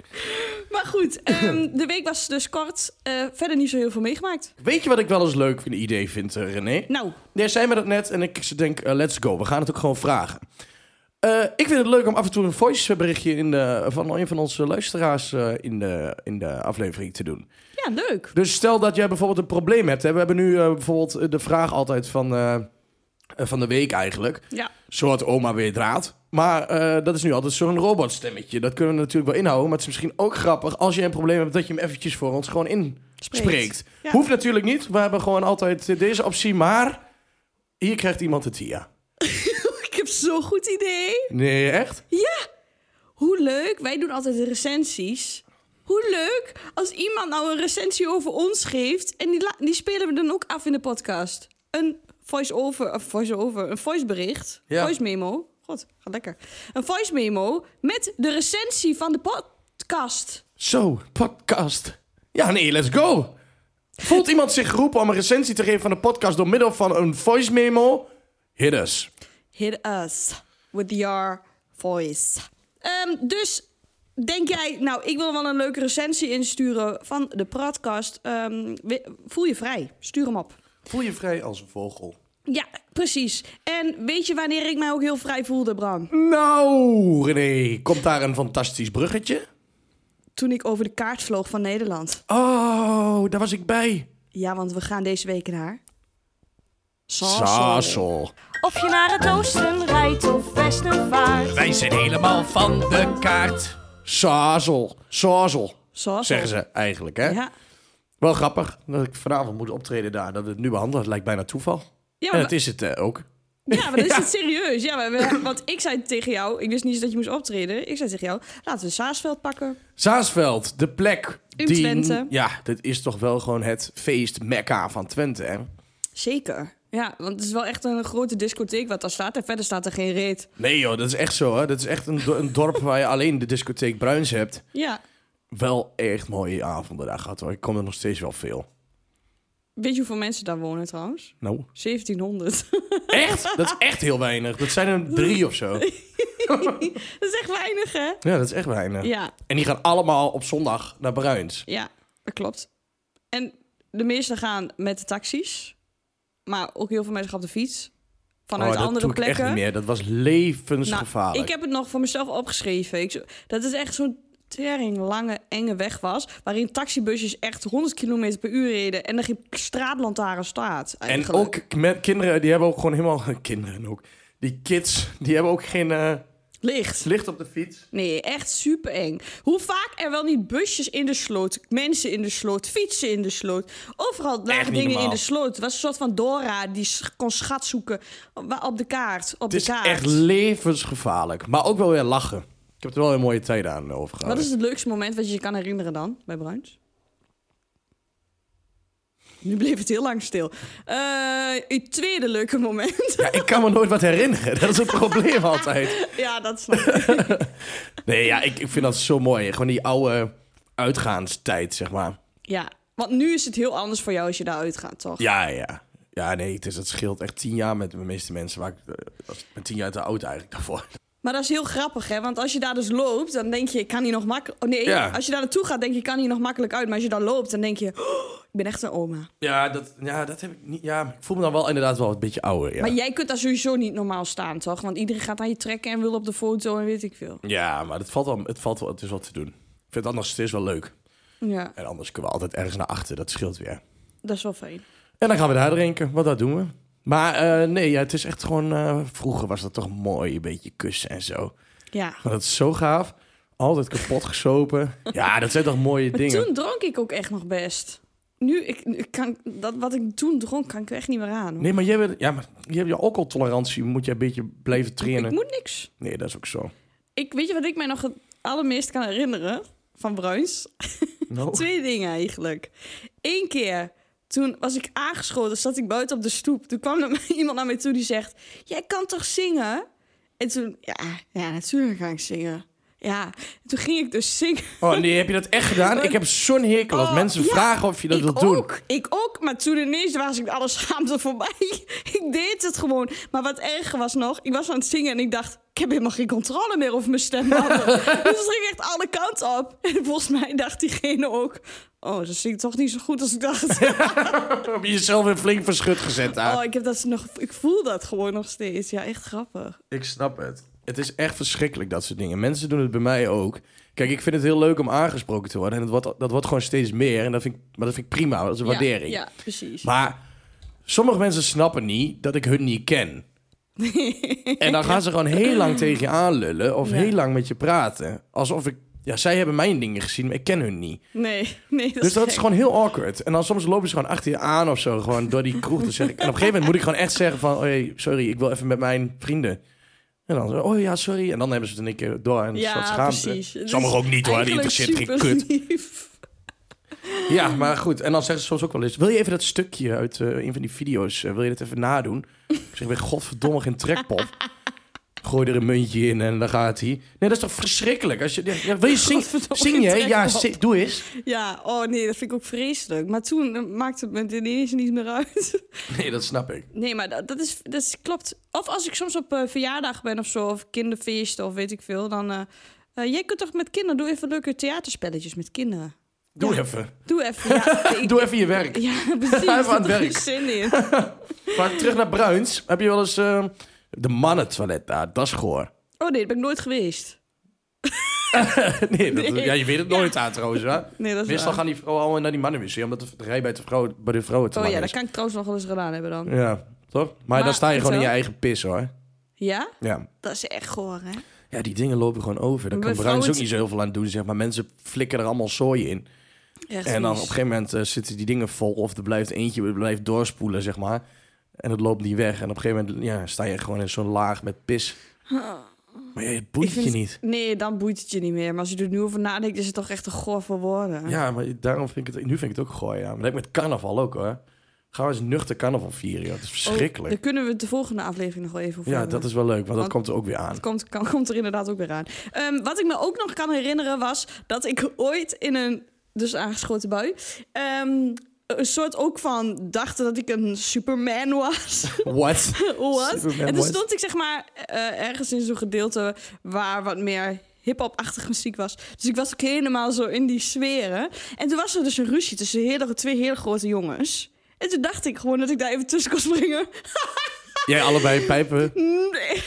Speaker 1: *laughs* maar goed,
Speaker 2: *clears throat*
Speaker 1: ehm, de week was dus kort. Eh, verder niet zo heel veel meegemaakt.
Speaker 2: Weet je wat ik wel eens leuk vind, idee vind, eh, René?
Speaker 1: Nou,
Speaker 2: Jij zei me dat net en ik denk, eh, let's go. We gaan het ook gewoon vragen. Eh, ik vind het leuk om af en toe een voiceberichtje in de, van een van onze luisteraars eh, in, de, in de aflevering te doen.
Speaker 1: ja, leuk.
Speaker 2: Dus stel dat jij bijvoorbeeld een probleem hebt. Hè? We hebben nu eh, bijvoorbeeld de vraag altijd van, eh, eh, van de week eigenlijk.
Speaker 1: Ja, *laughs*
Speaker 2: Zo had oma weer draad. Maar eh, dat is nu altijd zo'n robotstemmetje. Dat kunnen we natuurlijk wel inhouden. Maar het is misschien ook grappig als je een probleem hebt... dat je hem eventjes voor ons gewoon inspreekt.
Speaker 1: Ja.
Speaker 2: Hoeft natuurlijk niet. We hebben gewoon altijd eh, deze optie. Maar hier krijgt iemand het TIA.
Speaker 1: Ik heb zo'n goed idee.
Speaker 2: Nee, echt?
Speaker 1: Hoe leuk. Wij doen altijd recensies. Hoe leuk als iemand nou een recensie over ons geeft. En die, la- die spelen we dan ook af in de podcast. Een voice-over, of voice-over, een voicebericht.
Speaker 2: Ja.
Speaker 1: Voice-memo. God, gaat lekker. Een voice-memo met de recensie van de podcast.
Speaker 2: Zo, podcast. Ja, nee, let's go. Voelt iemand zich geroepen om een recensie te geven van de podcast... door middel van een voice memo? dus. Hit us.
Speaker 1: Hit us with your voice. Ehm, dus denk jij, nou, ik wil wel een leuke recensie insturen van de podcast. Ehm, we- voel je vrij. Stuur hem op.
Speaker 2: Voel je vrij als een vogel.
Speaker 1: Ja, precies. En weet je wanneer ik mij ook heel vrij voelde, Bram?
Speaker 2: Nou, René, komt daar een fantastisch bruggetje?
Speaker 1: Toen ik over de kaart vloog van Nederland.
Speaker 2: Oh, daar was ik bij.
Speaker 1: Ja, want we gaan deze week naar.
Speaker 2: Sasel.
Speaker 4: Of je naar het oosten rijdt of westen vaart.
Speaker 2: Wij zijn helemaal van de kaart. Sasel. Sasel.
Speaker 1: Sasel.
Speaker 2: Zeggen ze eigenlijk, hè?
Speaker 1: Ja.
Speaker 2: Wel grappig dat ik vanavond moet optreden daar. Dat het nu behandeld lijkt bijna toeval.
Speaker 1: Ja,
Speaker 2: en
Speaker 1: maar,
Speaker 2: dat is het eh, ook.
Speaker 1: ja, maar dan
Speaker 2: *laughs*
Speaker 1: is het serieus. Ja, maar we- want ik zei tegen jou, ik wist niet eens dat je moest optreden. Ik zei tegen jou, laten we Saasveld pakken.
Speaker 2: Zaasveld, de plek.
Speaker 1: In
Speaker 2: die,
Speaker 1: Twente.
Speaker 2: Ja, dit is toch wel gewoon het feest mekka van Twente, hè?
Speaker 1: Zeker. Ja, want het is wel echt een grote discotheek wat daar staat. En verder staat er geen reet.
Speaker 2: Nee joh, dat is echt zo, hè? Dat is echt een, do- een dorp waar je alleen de discotheek Bruins hebt.
Speaker 1: Ja.
Speaker 2: Wel echt mooie avonden daar gehad, hoor. Ik kom er nog steeds wel veel.
Speaker 1: Weet je hoeveel mensen daar wonen trouwens?
Speaker 2: Nou...
Speaker 1: 1700. *laughs*
Speaker 2: Echt? Dat is echt heel weinig. Dat zijn er drie of zo.
Speaker 1: *laughs* dat is echt weinig, hè?
Speaker 2: Ja, dat is echt weinig.
Speaker 1: Ja,
Speaker 2: En die gaan allemaal op zondag naar Bruins.
Speaker 1: Ja, dat klopt. En de meesten gaan met de taxis. Maar ook heel veel mensen gaan op de fiets. Vanuit
Speaker 2: Oh, dat
Speaker 1: andere
Speaker 2: doe ik
Speaker 1: plekken.
Speaker 2: echt niet meer. Dat was
Speaker 1: Nou,
Speaker 2: levensgevaarlijk.
Speaker 1: ik heb het nog voor mezelf opgeschreven. Ik, zo- dat het echt zo'n tering lange, enge weg was. Waarin taxibusjes echt 100 km per uur reden. En er geen straatlantaarn staat.
Speaker 2: En
Speaker 1: eigenlijk.
Speaker 2: *laughs* ook met kinderen, die hebben ook gewoon helemaal... Kinderen ook. Die kids, die hebben ook geen... eh,
Speaker 1: Licht.
Speaker 2: Licht op de fiets.
Speaker 1: Nee, echt super eng. Hoe vaak er wel niet busjes in de sloot, mensen in de sloot, fietsen in de sloot. Overal lagen
Speaker 2: niet
Speaker 1: dingen in
Speaker 2: normaal.
Speaker 1: de sloot. Het was een soort van Dora die s- kon schat zoeken op op de kaart. Op
Speaker 2: Het is
Speaker 1: de kaart.
Speaker 2: echt levensgevaarlijk. Maar ook wel weer lachen. Ik heb er wel een mooie tijd aan over gehad.
Speaker 1: Wat is het leukste moment wat je je kan herinneren dan bij Bruins? Nu bleef het heel lang stil. Eh, uw tweede leuke moment. *laughs*
Speaker 2: Ja, ik kan me nooit wat herinneren. Dat is het probleem altijd.
Speaker 1: ja, dat snap ik.
Speaker 2: Nee, ja, ik, ik vind dat zo mooi. Gewoon die oude uitgaanstijd, zeg maar.
Speaker 1: Ja, want nu is het heel anders voor jou als je daaruit gaat, toch?
Speaker 2: Ja, ja. Ja, nee, het, is, het scheelt echt tien jaar met de meeste mensen. Waar ik, eh, als ik ben tien jaar te oud eigenlijk daarvoor.
Speaker 1: Maar dat is heel grappig, hè? Want als je daar dus loopt, dan denk je, ik kan hier nog makkelijk... Oh, nee,
Speaker 2: Ja.
Speaker 1: als je daar naartoe gaat, denk je, ik kan hier nog makkelijk uit. Maar als je daar loopt, dan denk je, "Oh, ik ben echt een oma.
Speaker 2: *laughs* Ja, dat, ja, dat heb ik niet. Ja, ik voel me dan wel inderdaad wel een beetje ouder. Ja,
Speaker 1: Maar jij kunt daar sowieso niet normaal staan, toch? Want iedereen gaat aan je trekken en wil op de foto en weet ik veel.
Speaker 2: ja maar het valt, wel, het valt wel. Het is wat te doen. Ik vind het anders steeds wel leuk.
Speaker 1: Ja,
Speaker 2: En anders kunnen we altijd ergens naar achter. Dat scheelt weer.
Speaker 1: dat is wel fijn.
Speaker 2: En dan gaan we daar drinken, want dat doen we. Maar eh, nee, ja, het is echt gewoon... eh, vroeger was dat toch mooi, een beetje kussen en zo.
Speaker 1: Ja.
Speaker 2: Maar dat is zo gaaf. Altijd kapot
Speaker 1: *laughs*
Speaker 2: gesopen. Ja, dat zijn toch mooie
Speaker 1: Maar
Speaker 2: dingen.
Speaker 1: toen dronk ik ook echt nog best. Nu, ik, ik kan, dat, wat ik toen dronk, kan ik echt niet meer aan. hoor.
Speaker 2: Nee, maar jij bent, ja, maar je hebt je alcoholtolerantie, moet je een beetje blijven
Speaker 1: ik
Speaker 2: trainen.
Speaker 1: moet niks.
Speaker 2: Nee, dat is ook
Speaker 1: *laughs*
Speaker 2: zo.
Speaker 1: Ik, weet je wat ik mij nog het allermeest kan herinneren van Bruins?
Speaker 2: No.
Speaker 1: Twee dingen eigenlijk. Eén keer, toen was ik aangeschoten, zat ik buiten op de stoep. Toen kwam er *laughs* iemand naar mij toe die zegt: Jij kan toch zingen? En toen, ja, ja natuurlijk kan ik zingen. Ja, En toen ging ik dus zingen.
Speaker 2: *laughs* Oh nee, heb je dat echt gedaan? Ik heb zo'n hekel als
Speaker 1: Oh,
Speaker 2: mensen
Speaker 1: ja,
Speaker 2: vragen of je dat
Speaker 1: ik
Speaker 2: wilt doen.
Speaker 1: ook, Ik ook, maar toen ineens was ik alle schaamte voorbij. *laughs* ik deed het gewoon. Maar wat erger was nog, ik was aan het zingen en ik dacht... ik heb helemaal geen controle meer over mijn
Speaker 2: *laughs*
Speaker 1: stembanden. *laughs* dus het ging echt alle kanten op. En volgens mij dacht diegene ook... oh, ze zingt toch niet zo goed als ik dacht.
Speaker 2: Heb je jezelf weer flink verschut gezet daar.
Speaker 1: oh, ik, heb dat nog, ik voel dat gewoon nog steeds. Ja, echt grappig.
Speaker 2: Ik snap het. Het is echt verschrikkelijk, dat soort dingen. Mensen doen het bij mij ook. Kijk, ik vind het heel leuk om aangesproken te worden. En dat wordt, dat wordt gewoon steeds meer. En dat vind ik, maar dat vind ik prima. Dat is een waardering.
Speaker 1: Ja, ja, precies.
Speaker 2: Maar sommige mensen snappen niet dat ik hun
Speaker 1: *laughs*
Speaker 2: niet ken. en dan gaan ze gewoon heel lang tegen je aanlullen. Of
Speaker 1: Ja.
Speaker 2: heel lang met je praten. Alsof ik... Ja, zij hebben mijn dingen gezien, maar ik ken hun niet.
Speaker 1: nee, *laughs* nee, dat
Speaker 2: Dus dat
Speaker 1: gek.
Speaker 2: is gewoon heel awkward. En dan soms lopen ze gewoon achter je aan of zo. Gewoon door die kroeg. te zeggen. en op een gegeven moment moet ik gewoon echt zeggen van... Oh, hey, sorry, ik wil even met mijn vrienden. En dan zo, oh ja, sorry. En dan hebben ze het in één keer door en ja,
Speaker 1: Ja,
Speaker 2: wat schaamte.
Speaker 1: precies. Het is
Speaker 2: Sommigen ook niet hoor, die
Speaker 1: eigenlijk
Speaker 2: interesseert geen
Speaker 1: super
Speaker 2: kut.
Speaker 1: lief.
Speaker 2: Ja, maar goed. En dan zeggen ze soms ook wel eens... Wil je even dat stukje uit eh, een van die video's... eh, wil je dat even nadoen? Ik zeg weer, godverdomme, geen trekpop. Gooi er een muntje in en dan gaat hij. Nee, dat is toch verschrikkelijk? Als je, ja, wil je zing,
Speaker 1: Godverdomme,
Speaker 2: zing je?
Speaker 1: geen
Speaker 2: Ja,
Speaker 1: trekpop.
Speaker 2: zing- doe eens.
Speaker 1: *laughs* Ja, oh nee, dat vind ik ook vreselijk. Maar toen eh, maakte het me ineens niet meer uit. *laughs*
Speaker 2: Nee, dat snap ik.
Speaker 1: Nee, maar dat, dat, is, dat is- klopt. Of als ik soms op eh, verjaardag ben of zo, of kinderfeesten of weet ik veel, dan... eh, eh, jij kunt toch met kinderen, doe even leuke theaterspelletjes met kinderen.
Speaker 2: Doe
Speaker 1: Ja.
Speaker 2: even.
Speaker 1: Doe even,
Speaker 2: *laughs*
Speaker 1: ja. ik-
Speaker 2: Doe even je werk.
Speaker 1: Ja, *laughs* precies.
Speaker 2: Even aan
Speaker 1: Ik heb
Speaker 2: het
Speaker 1: er
Speaker 2: werk.
Speaker 1: geen zin in.
Speaker 2: Maar terug naar Bruins. Heb je wel eens eh, de mannentoilet daar? Dat is goor. *laughs*
Speaker 1: Oh nee, dat ben ik nooit geweest.
Speaker 2: nee, dat,
Speaker 1: Nee.
Speaker 2: Ja, je weet het nooit aan trouwens. Hè?
Speaker 1: Nee, dat is
Speaker 2: Meestal
Speaker 1: waar.
Speaker 2: gaan die vrouwen allemaal naar die mannenmuseum... omdat de rij bij de, vrouw, bij de vrouwen te
Speaker 1: Oh
Speaker 2: lang
Speaker 1: ja, dat
Speaker 2: is.
Speaker 1: kan ik trouwens nog wel eens gedaan hebben dan.
Speaker 2: Ja, toch? Maar,
Speaker 1: Maar
Speaker 2: dan sta je gewoon in je
Speaker 1: vertel.
Speaker 2: eigen pis, hoor.
Speaker 1: Ja?
Speaker 2: Ja.
Speaker 1: Dat is echt goor, hè?
Speaker 2: ja, die dingen lopen gewoon over. Daar
Speaker 1: Maar
Speaker 2: kan
Speaker 1: bij
Speaker 2: Bruins ook
Speaker 1: vrouwen-
Speaker 2: niet zo heel veel aan doen, zeg maar. Mensen flikken er allemaal zooi in.
Speaker 1: Echt
Speaker 2: En dan op
Speaker 1: vies.
Speaker 2: een gegeven moment eh, zitten die dingen vol... of er blijft eentje er blijft doorspoelen, zeg maar. En het loopt niet weg. En op een gegeven moment ja, sta je gewoon in zo'n laag met pis. Maar ja, het boeit
Speaker 1: Ik vind
Speaker 2: je
Speaker 1: het-
Speaker 2: niet.
Speaker 1: Nee, dan boeit het je niet meer. Maar als je er nu over nadenkt, is het toch echt een goor voor woorden.
Speaker 2: Ja, maar daarom vind ik het... Nu vind ik het ook gooi, ja. Maar dat heb ik met carnaval ook, hoor. Gaan we eens nuchter carnaval vieren, joh. Dat is
Speaker 1: Oh,
Speaker 2: verschrikkelijk.
Speaker 1: daar kunnen we het de volgende aflevering nog wel even over
Speaker 2: ja,
Speaker 1: hebben.
Speaker 2: dat is wel leuk, want, dat
Speaker 1: Want-
Speaker 2: komt er ook weer
Speaker 1: *laughs*
Speaker 2: aan.
Speaker 1: Dat komt, kan- komt er inderdaad ook weer aan. Ehm, wat ik me ook nog kan herinneren was dat ik ooit in een, dus aangeschoten bui, ehm, een soort ook van dachten dat ik een Superman was.
Speaker 2: What?
Speaker 1: *laughs* was.
Speaker 2: Superman
Speaker 1: en toen
Speaker 2: was.
Speaker 1: stond ik zeg maar eh, ergens in zo'n gedeelte waar wat meer hip-hop-achtige muziek was. Dus ik was ook helemaal zo in die sferen. En toen was er dus een ruzie tussen hele, twee hele grote jongens. En toen dacht ik gewoon dat ik daar even tussen kon springen.
Speaker 2: Jij allebei pijpen
Speaker 1: Nee.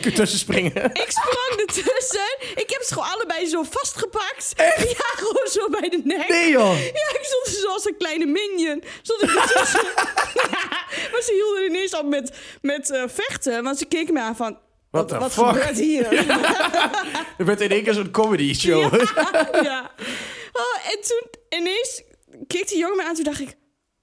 Speaker 2: kunt *laughs* tussen springen.
Speaker 1: Ik sprong ertussen. Ik heb ze gewoon allebei zo vastgepakt. Ja, gewoon zo bij de nek.
Speaker 2: Nee, joh.
Speaker 1: Ja, ik stond er zoals een kleine minion. Stond ik *laughs*
Speaker 2: *laughs*
Speaker 1: ertussen. ja, maar ze hielden ineens op met, met eh, vechten. Want ze keken me aan van...
Speaker 2: What the
Speaker 1: wat
Speaker 2: fuck?
Speaker 1: gebeurt
Speaker 2: *laughs*
Speaker 1: hier?
Speaker 2: Er werd in één keer zo'n comedy show.
Speaker 1: ja. Oh, en toen ineens keek die jongen me aan. Toen dacht ik,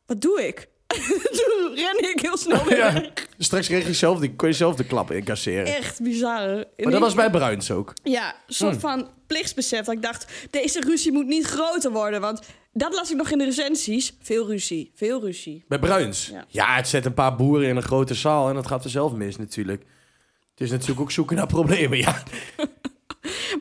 Speaker 1: wat doe ik? *laughs* toen ren ik heel snel weer.
Speaker 2: *laughs* Ja.
Speaker 1: weg.
Speaker 2: Straks kreeg je zelf, die, kon je zelf de klap incasseren.
Speaker 1: Echt bizar. In
Speaker 2: maar dat
Speaker 1: één-
Speaker 2: was bij Bruins ook.
Speaker 1: Ja, een
Speaker 2: Hm.
Speaker 1: soort van plichtsbesef. Dat ik dacht, deze ruzie moet niet groter worden. Want dat las ik nog in de recensies. Veel ruzie, veel ruzie.
Speaker 2: Bij Bruins. Ja.
Speaker 1: Ja.
Speaker 2: het zet een paar boeren in een grote zaal en dat gaat er zelf mis natuurlijk. Het is natuurlijk ook zoeken naar problemen. Ja.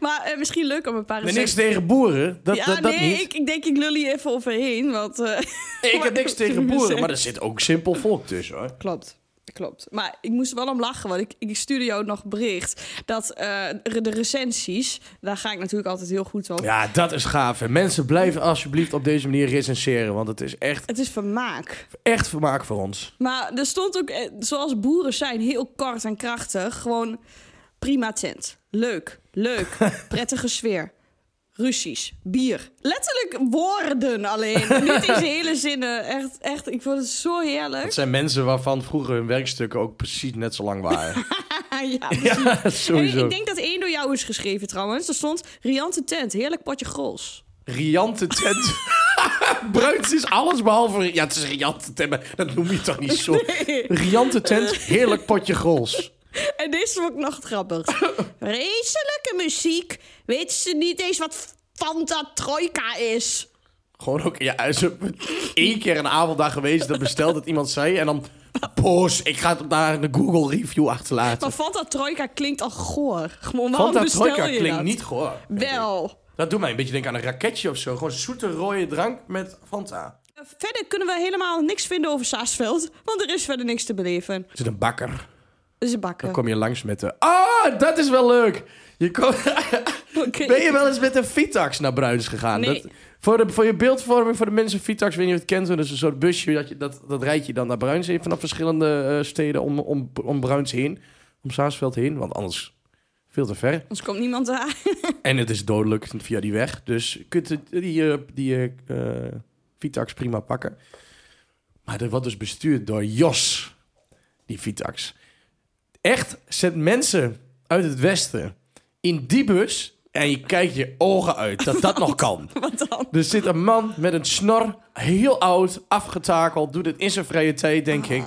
Speaker 1: Maar eh, misschien leuk om een paar
Speaker 2: Nee,
Speaker 1: recensies...
Speaker 2: niks tegen boeren. Dat,
Speaker 1: ja,
Speaker 2: dat, dat
Speaker 1: nee,
Speaker 2: niet.
Speaker 1: Ik, ik denk ik lul hier even overheen, want... eh, *laughs*
Speaker 2: Nee, ik heb
Speaker 1: maar-
Speaker 2: niks tegen boeren, maar er zit ook simpel volk tussen hoor.
Speaker 1: Klopt. Klopt. Maar ik moest er wel om lachen, want ik, ik stuurde jou nog bericht dat eh, re- de recensies, daar ga ik natuurlijk altijd heel goed op.
Speaker 2: Ja, dat is gaaf. En mensen, blijven alsjeblieft op deze manier recenseren, want het is echt,
Speaker 1: Het is vermaak.
Speaker 2: echt vermaak voor ons.
Speaker 1: Maar er stond ook, eh, zoals boeren zijn, heel kort en krachtig. Gewoon prima tent. Leuk, leuk, prettige sfeer. Russisch, bier. Letterlijk woorden alleen. Niet eens hele zinnen. Echt, echt, ik vond het zo heerlijk.
Speaker 2: Het zijn mensen waarvan vroeger hun werkstukken ook precies net zo lang waren.
Speaker 1: ja,
Speaker 2: *laughs* *laughs* ja,
Speaker 1: En
Speaker 2: sowieso.
Speaker 1: ik denk dat één door jou is geschreven trouwens. Er stond Riante Tent, heerlijk potje grols.
Speaker 2: Riante tent. *laughs* Bruins is alles behalve... Ja, het is riante tent, maar dat noem je toch niet zo.
Speaker 1: *laughs*
Speaker 2: Riante tent, heerlijk potje grols.
Speaker 1: En deze vond ik nog grappig. Vreselijke muziek. Weet ze niet eens wat Fanta Trojka is?
Speaker 2: Gewoon ook, ja, ze één keer een avond daar geweest, dat besteld dat iemand zei en dan... Boos, ik ga het daar een Google review achterlaten.
Speaker 1: Maar Fanta Trojka klinkt al goor. Gewoon, waarom
Speaker 2: Fanta
Speaker 1: bestel
Speaker 2: Trojka
Speaker 1: je
Speaker 2: klinkt
Speaker 1: dat?
Speaker 2: niet goor.
Speaker 1: Wel.
Speaker 2: Dat doet mij een beetje denken aan een raketje of zo. Gewoon zoete rode drank met Fanta.
Speaker 1: Eh, Verder kunnen we helemaal niks vinden over Saasveld. Want er is verder niks te beleven.
Speaker 2: Er zit een bakker.
Speaker 1: Ze
Speaker 2: Dan
Speaker 1: bakken.
Speaker 2: kom je langs met de... Ah, dat is wel leuk! Je komt... *laughs*
Speaker 1: Oké.
Speaker 2: Ben je wel eens met een Vitax naar Bruins gegaan?
Speaker 1: Nee.
Speaker 2: Dat, voor, de, voor je beeldvorming, voor de mensen Vitax, weet niet of je het kent, dat is een soort busje, dat, je, dat, dat rijd je dan naar Bruins heen, vanaf verschillende eh, steden om, om, om Bruins heen, om Saasveld heen, want anders veel te ver.
Speaker 1: Anders komt niemand daar.
Speaker 2: En het is dodelijk via die weg, dus je kunt het- die, eh, die eh, eh, Vitax prima pakken. Maar dat wordt dus bestuurd door Jos, die Vitax. Echt, zet mensen uit het westen in die bus en je kijkt je ogen uit dat dat nog kan.
Speaker 1: *laughs*
Speaker 2: *laughs*
Speaker 1: Wat dan?
Speaker 2: Er zit een man met een snor, heel oud, afgetakeld, doet het in zijn vrije tijd, denk ik.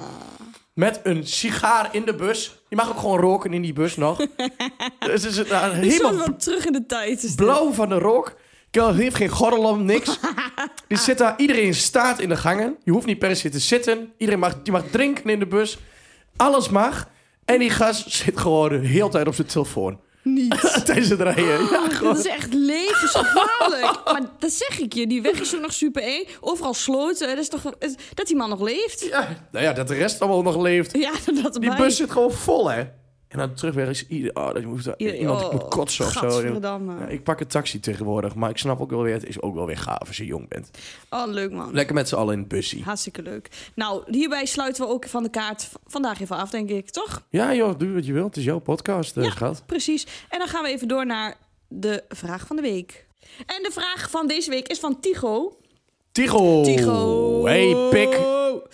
Speaker 2: Met een sigaar in de bus. Je mag ook gewoon roken in die bus nog. dus is het nou
Speaker 1: Helemaal...
Speaker 2: helemaal
Speaker 1: terug in de tijd. is dit.
Speaker 2: blauw van de rook. Kel heeft geen gordel om,
Speaker 1: *laughs*
Speaker 2: niks. Die zit daar, iedereen staat in de gangen. Je hoeft niet per se te zitten. Iedereen mag, je mag drinken in de bus. Alles mag. En die gast zit gewoon de hele tijd op zijn telefoon.
Speaker 1: Niet.
Speaker 2: *laughs* Tijdens het rijden. Ja,
Speaker 1: Dat
Speaker 2: gewoon.
Speaker 1: is echt levensgevaarlijk. *laughs* maar dat zeg ik je, die weg is ook nog super eng. Overal sloten. Dat, is toch, dat die man nog leeft. *laughs* Ja,
Speaker 2: Ja, nou ja, dat de rest allemaal nog leeft.
Speaker 1: dat
Speaker 2: Die
Speaker 1: erbij.
Speaker 2: bus zit gewoon vol, hè? En dan terugweg is ieder... Oh, dat moet,
Speaker 1: Ieder-
Speaker 2: iemand
Speaker 1: oh,
Speaker 2: moet kotsen of zo.
Speaker 1: gadverdamme.
Speaker 2: Ja, ik pak een taxi tegenwoordig, maar ik snap ook wel weer... Het is ook wel weer gaaf als je jong bent.
Speaker 1: Oh, leuk man.
Speaker 2: Lekker met z'n allen in het bussie.
Speaker 1: Hartstikke leuk. Nou, hierbij sluiten we ook van de kaart v- vandaag even af, denk ik, toch?
Speaker 2: Ja joh, doe wat je wilt. Het is jouw podcast, eh, schat.
Speaker 1: Precies. En dan gaan we even door naar de vraag van de week. En de vraag van deze week is van Tigo.
Speaker 2: Tigo!
Speaker 1: Tigo.
Speaker 2: Hey, pik!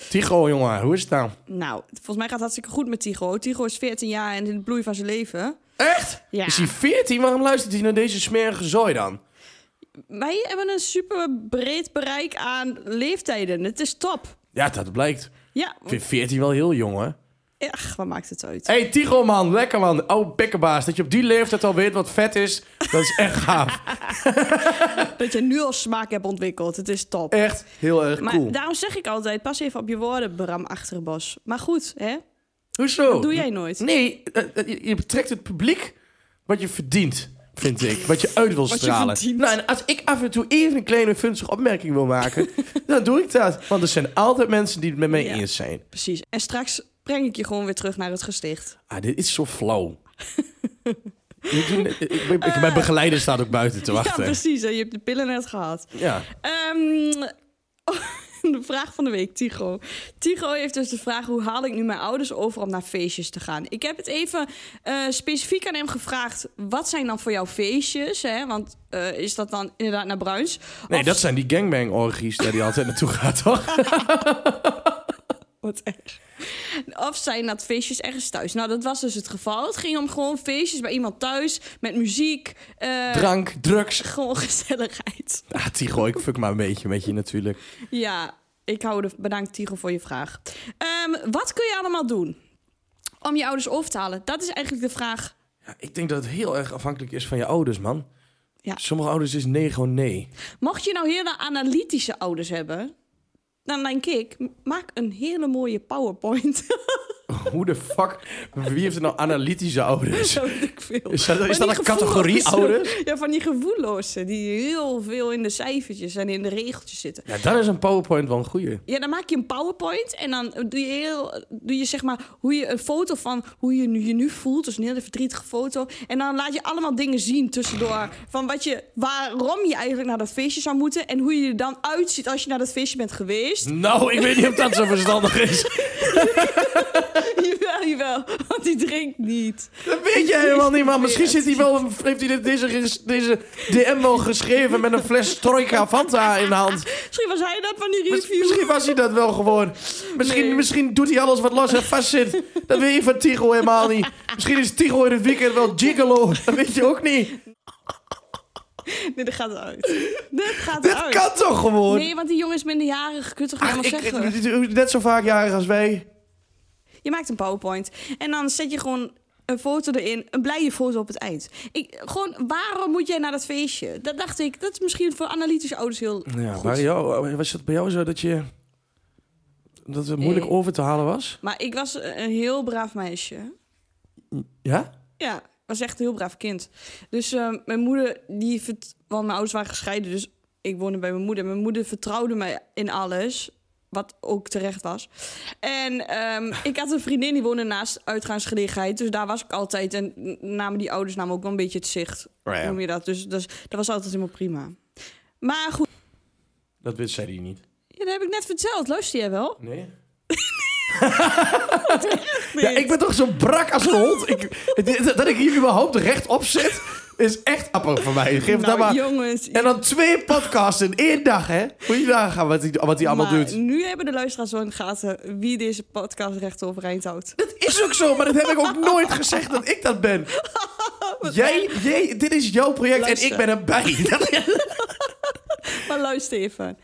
Speaker 2: Tigo, jongen. Hoe is het nou?
Speaker 1: Nou, volgens mij gaat het hartstikke goed met Tigo. Tigo is 14 jaar en in de bloei van zijn leven.
Speaker 2: Echt?
Speaker 1: Ja.
Speaker 2: Is hij 14? Waarom luistert hij naar deze smerige zooi dan?
Speaker 1: Wij hebben een super breed bereik aan leeftijden. Het is top.
Speaker 2: Ja, dat blijkt.
Speaker 1: Ja,
Speaker 2: Ik vind 14 wel heel jong, hè?
Speaker 1: ach, wat maakt het uit?
Speaker 2: Hey Tigo man, lekker man. Oh, pikkenbaas. Dat je op die leeftijd al weet wat vet is, dat is echt gaaf.
Speaker 1: *laughs*
Speaker 2: Eh.
Speaker 1: Dat je nu al smaak hebt ontwikkeld, het is top.
Speaker 2: Echt heel erg
Speaker 1: maar
Speaker 2: Eh, cool.
Speaker 1: daarom zeg ik altijd, pas even op je woorden, Bram Achterbos. Maar goed, hè?
Speaker 2: Hoezo?
Speaker 1: doe jij nooit.
Speaker 2: Oh, Nee, eh, eh, je- je betrekt het publiek wat je verdient, vind ik. Wat je uit wil
Speaker 1: Wat je
Speaker 2: stralen.
Speaker 1: verdient.
Speaker 2: nou, en als ik af en toe even een kleine funzige opmerking wil
Speaker 1: *laughs*
Speaker 2: maken, dan doe ik dat. Want er zijn altijd mensen die het met mij
Speaker 1: Ja.
Speaker 2: eens zijn.
Speaker 1: Precies. En straks breng ik je gewoon weer terug naar het gesticht.
Speaker 2: Ah, dit is zo flauw. Ik doe- ik- ik- ik- Mijn begeleider staat ook buiten te
Speaker 1: Ja, dus-
Speaker 2: wachten.
Speaker 1: precies. hè. Je hebt de pillen net gehad.
Speaker 2: Ja.
Speaker 1: Ehm, *laughs* de vraag van de week, Tigo. Tigo heeft dus de vraag: hoe haal ik nu mijn ouders over om naar feestjes te gaan? Ik heb het even eh, specifiek aan hem gevraagd: wat zijn dan voor jou feestjes? Hè? Want eh, is dat dan inderdaad naar Bruins?
Speaker 2: Nee,
Speaker 1: Of-
Speaker 2: dat zijn die gangbang-orgies waar die altijd naartoe gaat, toch?
Speaker 1: *laughs* Wat erg. Of zij na het feestjes ergens thuis. Nou, dat was dus het geval. Het ging om gewoon feestjes bij iemand thuis. Met muziek. eh,
Speaker 2: Drank,
Speaker 1: *laughs*
Speaker 2: drugs.
Speaker 1: Gewoon gezelligheid.
Speaker 2: Ah, Tigo, ik fuck maar een beetje met je natuurlijk.
Speaker 1: Ja, ik hou er... Bedankt, Tigo, voor je vraag. Ehm, wat kun je allemaal doen om je ouders over te halen? Dat is eigenlijk de vraag.
Speaker 2: Ja, ik denk dat het heel erg afhankelijk is van je ouders, man.
Speaker 1: Ja.
Speaker 2: Sommige ouders is nee gewoon nee.
Speaker 1: Mocht je nou hele analytische ouders hebben... Dan denk ik, maak een hele mooie PowerPoint. *laughs*
Speaker 2: *laughs* Hoe de fuck? Wie heeft er nou analytische ouders?
Speaker 1: Zo weet ik veel.
Speaker 2: Is dat, is
Speaker 1: Van die
Speaker 2: dat een categorie
Speaker 1: gevoelloze-
Speaker 2: ouders?
Speaker 1: Ja, van die gevoellozen die heel veel in de cijfertjes en in de regeltjes zitten.
Speaker 2: Ja, dan is een PowerPoint wel een goeie.
Speaker 1: Ja, dan maak je een PowerPoint en dan doe je, heel, doe je zeg maar hoe je een foto van hoe je nu, je nu voelt. Dus een hele verdrietige foto. En dan laat je allemaal dingen zien tussendoor. Van wat je, waarom je eigenlijk naar dat feestje zou moeten. En hoe je er dan uitziet als je naar dat feestje bent geweest.
Speaker 2: Nou, ik weet niet of dat zo verstandig is.
Speaker 1: *laughs* jawel, jawel. Want die drinkt niet.
Speaker 2: *laughs* Dat weet jij helemaal niet, man. Misschien zit hij wel, heeft hij dit- deze, ges- deze DM wel geschreven met een fles Trojka Fanta in de hand.
Speaker 1: Misschien was hij dat van die
Speaker 2: Miss-
Speaker 1: review.
Speaker 2: Misschien was hij dat wel gewoon. Misschien,
Speaker 1: Nee.
Speaker 2: misschien doet hij alles wat los en vast zit. Dat weet je van Tigo helemaal niet. Misschien is Tigo in het weekend wel gigolo. Dat weet je ook niet.
Speaker 1: Nee, dat gaat eruit. Dat gaat
Speaker 2: Dit
Speaker 1: eruit.
Speaker 2: kan toch gewoon?
Speaker 1: Nee, want die jongen is minderjarig. Kun je toch
Speaker 2: Ach,
Speaker 1: helemaal
Speaker 2: Nou, ik,
Speaker 1: zeggen?
Speaker 2: ik- ik- net zo vaak jarig als wij.
Speaker 1: Je maakt een PowerPoint. En dan zet je gewoon een foto erin. Een blije foto op het eind. Ik, gewoon, waarom moet jij naar dat feestje? Dat dacht ik. Dat is misschien voor analytische ouders heel
Speaker 2: Nou Ja,
Speaker 1: goed.
Speaker 2: bij jou, eh, was het bij jou zo dat je... Dat het moeilijk
Speaker 1: Nee.
Speaker 2: over te halen was?
Speaker 1: Maar ik was een heel braaf meisje.
Speaker 2: Ja?
Speaker 1: Ja, ik was echt een heel braaf kind. Dus eh, mijn moeder, die vert- want mijn ouders waren gescheiden, dus ik woonde bij mijn moeder. Mijn moeder vertrouwde mij in alles, wat ook terecht was. En ehm, ik had een vriendin die woonde naast uitgaansgelegenheid, dus daar was ik altijd. En n- namen die ouders namen ook wel een beetje het zicht,
Speaker 2: Oh ja.
Speaker 1: noem je dat. Dus, dus dat was altijd helemaal prima. Maar goed,
Speaker 2: Dat wist zij die niet.
Speaker 1: ja, dat heb ik net verteld. Luister jij wel? *laughs*
Speaker 2: Nee? Ja, ik ben toch zo brak als een hond. Ik, het- dat ik hier überhaupt rechtop zit, is echt appig voor mij. Geef dat
Speaker 1: nou,
Speaker 2: maar...
Speaker 1: jongens.
Speaker 2: En dan twee podcasts in één dag, hè? Moet je nagaan wat hij wat die allemaal
Speaker 1: maar
Speaker 2: doet.
Speaker 1: nu hebben de luisteraars wel in de gaten wie deze podcast recht overeind houdt.
Speaker 2: Dat is ook zo, maar dat heb ik ook nooit gezegd dat ik dat
Speaker 1: *laughs*
Speaker 2: ben. Jij, jij, dit is jouw project
Speaker 1: Luister.
Speaker 2: en ik ben erbij. *laughs* Dat-
Speaker 1: Maar luister even.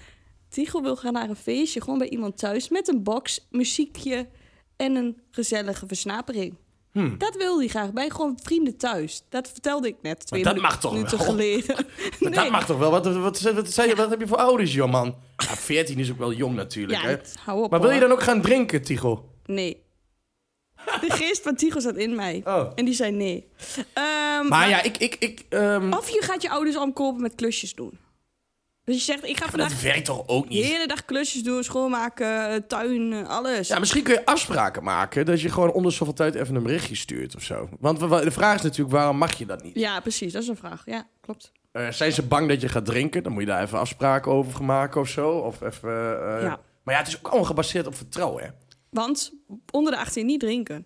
Speaker 1: Tigo wil gaan naar een feestje, gewoon bij iemand thuis... met een box, muziekje en een gezellige versnapering.
Speaker 2: Hmm.
Speaker 1: Dat wil hij graag, bij gewoon vrienden thuis. Dat vertelde ik net twee
Speaker 2: dat
Speaker 1: minu-
Speaker 2: mag toch
Speaker 1: minuten
Speaker 2: wel? *laughs*
Speaker 1: geleden. Nee.
Speaker 2: Dat mag toch wel? Wat, wat, wat, wat zei je- wat heb je voor ouders, joh, man? Ja, 14 is ook wel jong natuurlijk,
Speaker 1: Ja,
Speaker 2: hè?
Speaker 1: het- hou op
Speaker 2: Maar wil je
Speaker 1: hoor.
Speaker 2: dan ook gaan drinken, Tigo?
Speaker 1: Nee. De geest van Tigo zat in mij.
Speaker 2: Oh.
Speaker 1: En die zei nee. Ehm,
Speaker 2: Maar ja, ik... ik, ik ehm,
Speaker 1: Of je gaat je ouders omkopen met klusjes doen. Dus je zegt, ik ga vandaag
Speaker 2: dat werkt toch ook
Speaker 1: de
Speaker 2: niet?
Speaker 1: hele dag klusjes doen. Schoonmaken, tuin, eh, alles.
Speaker 2: Ja, misschien kun je afspraken maken dat je gewoon onder zoveel tijd even een berichtje stuurt of zo. Want wa- wa- de vraag is natuurlijk, waarom mag je dat niet?
Speaker 1: ja, precies. Dat is een vraag. Ja, klopt.
Speaker 2: Eh, zijn ze bang dat je gaat drinken? Dan moet je daar even afspraken over gaan maken of zo. Of even, eh,
Speaker 1: Ja.
Speaker 2: Maar ja, het is ook allemaal gebaseerd op vertrouwen, hè?
Speaker 1: Want onder de 18 niet drinken.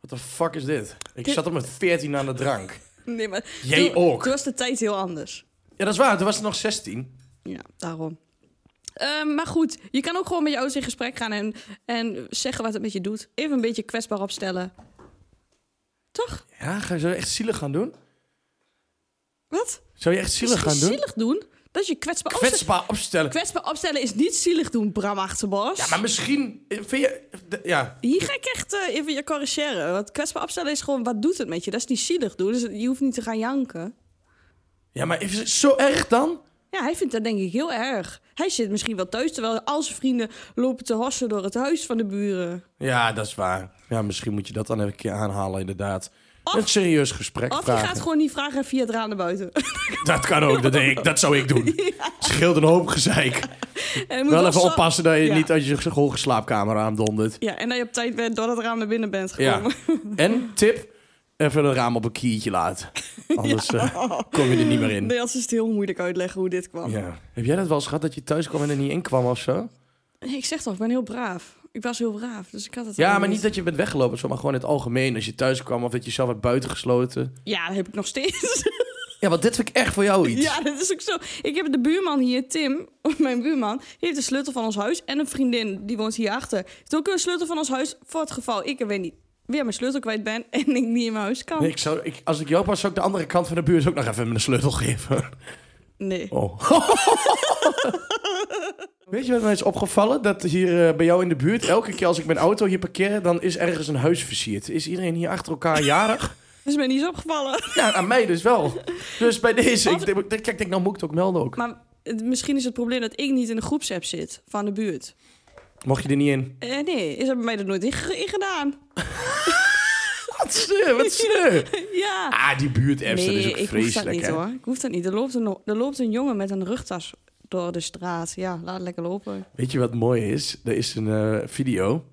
Speaker 2: Wat de fuck is dit? Ik
Speaker 1: Dit-
Speaker 2: zat op met 14 aan de drank.
Speaker 1: Nee, maar
Speaker 2: Jij
Speaker 1: toen-
Speaker 2: ook.
Speaker 1: Toen was de tijd heel anders.
Speaker 2: Ja, dat is waar. Toen was het nog 16.
Speaker 1: Ja, daarom. Ehm, maar goed, je kan ook gewoon met je ouders in gesprek gaan en, en zeggen wat het met je doet. Even een beetje kwetsbaar opstellen. Toch?
Speaker 2: Ja, ga je zo echt zielig gaan doen?
Speaker 1: Wat?
Speaker 2: Zou je echt
Speaker 1: Is het
Speaker 2: zielig gaan doen?
Speaker 1: zielig Oh, doen? Dat je kwetsbaar opstelt.
Speaker 2: Kwetsbaar opstellen.
Speaker 1: Kwetsbaar opstellen is niet zielig doen, Bram Achterbos.
Speaker 2: Ja, maar misschien... eh, Vind je... d- Ja,
Speaker 1: Hier ga ik echt eh, even je corrigeren. Want kwetsbaar opstellen is gewoon, wat doet het met je? Dat is niet zielig doen, dus je hoeft niet te gaan janken.
Speaker 2: ja maar is het zo erg dan?
Speaker 1: Ja, hij vindt dat denk ik heel erg. Hij zit misschien wel thuis, terwijl al zijn vrienden lopen te hossen door het huis van de buren.
Speaker 2: Ja, dat is waar. Ja, misschien moet je dat dan even een keer aanhalen, inderdaad.
Speaker 1: Of-
Speaker 2: een serieus gesprek
Speaker 1: Of je
Speaker 2: vragen.
Speaker 1: gaat gewoon niet vragen via het raam naar buiten. *laughs*
Speaker 2: Dat kan ook, dat, denk ik, dat zou ik doen. Scheelt een hoop gezeik.
Speaker 1: En moet
Speaker 2: Wel even
Speaker 1: zo-
Speaker 2: oppassen dat je
Speaker 1: Ja.
Speaker 2: niet als je gewoon slaapkamer aandondert.
Speaker 1: Ja, en dat je op tijd bent door het raam naar binnen bent
Speaker 2: Ja.
Speaker 1: gekomen. *laughs*
Speaker 2: En tip, even een raam op een kiertje laten. Anders eh, kom je er niet meer in.
Speaker 1: Nee, als is het heel moeilijk uitleggen hoe dit kwam.
Speaker 2: Ja. Heb jij dat wel eens gehad dat je thuis kwam en er niet in kwam of zo?
Speaker 1: Nee, ik zeg toch, ik ben heel braaf. Ik was heel braaf, dus ik had het...
Speaker 2: Ja,
Speaker 1: helemaal
Speaker 2: maar niet dat je bent weggelopen, of zo, maar gewoon in het algemeen. Als je thuis kwam of dat je zelf werd buitengesloten.
Speaker 1: Ja, dat heb ik nog steeds.
Speaker 2: Ja, want dit vind ik echt voor jou iets.
Speaker 1: Ja, dat is ook zo. Ik heb de buurman hier, Tim, *laughs* mijn buurman, die heeft de sleutel van ons huis. En een vriendin, die woont hierachter, heeft ook een sleutel van ons huis. Voor het geval ik, er weet niet, weer mijn sleutel kwijt ben en ik niet in mijn huis kan.
Speaker 2: Nee, ik zou, ik, als ik jou was, zou ik de andere kant van de buurt ook nog even een sleutel geven.
Speaker 1: Nee.
Speaker 2: Oh. *laughs* Weet je wat mij is opgevallen? Dat hier eh, bij jou in de buurt, elke keer als ik mijn auto hier parkeer, dan is ergens een huis versierd. Is iedereen hier achter elkaar jarig?
Speaker 1: Dat is mij niet eens opgevallen. *laughs*
Speaker 2: Ja, aan mij dus wel. Dus bij deze, ik, denk- kijk, ik denk, nou moet ik het ook melden ook.
Speaker 1: Maar het- misschien is het probleem dat ik niet in de groepsapp zit van de buurt.
Speaker 2: Mocht je er niet in?
Speaker 1: Eh, nee, is er bij mij dat nooit in, in gedaan. *laughs*
Speaker 2: Wat sneu, wat sneu.
Speaker 1: Ja.
Speaker 2: Ah, die buurt-apps, dat is
Speaker 1: nee,
Speaker 2: ook
Speaker 1: ik hoef dat
Speaker 2: vreselijk,
Speaker 1: niet
Speaker 2: hè?
Speaker 1: hoor. Ik hoef dat niet. Er loopt, een, er loopt een jongen met een rugtas door de straat. Ja, laat lekker lopen.
Speaker 2: Weet je wat mooi is? Er is een eh, video.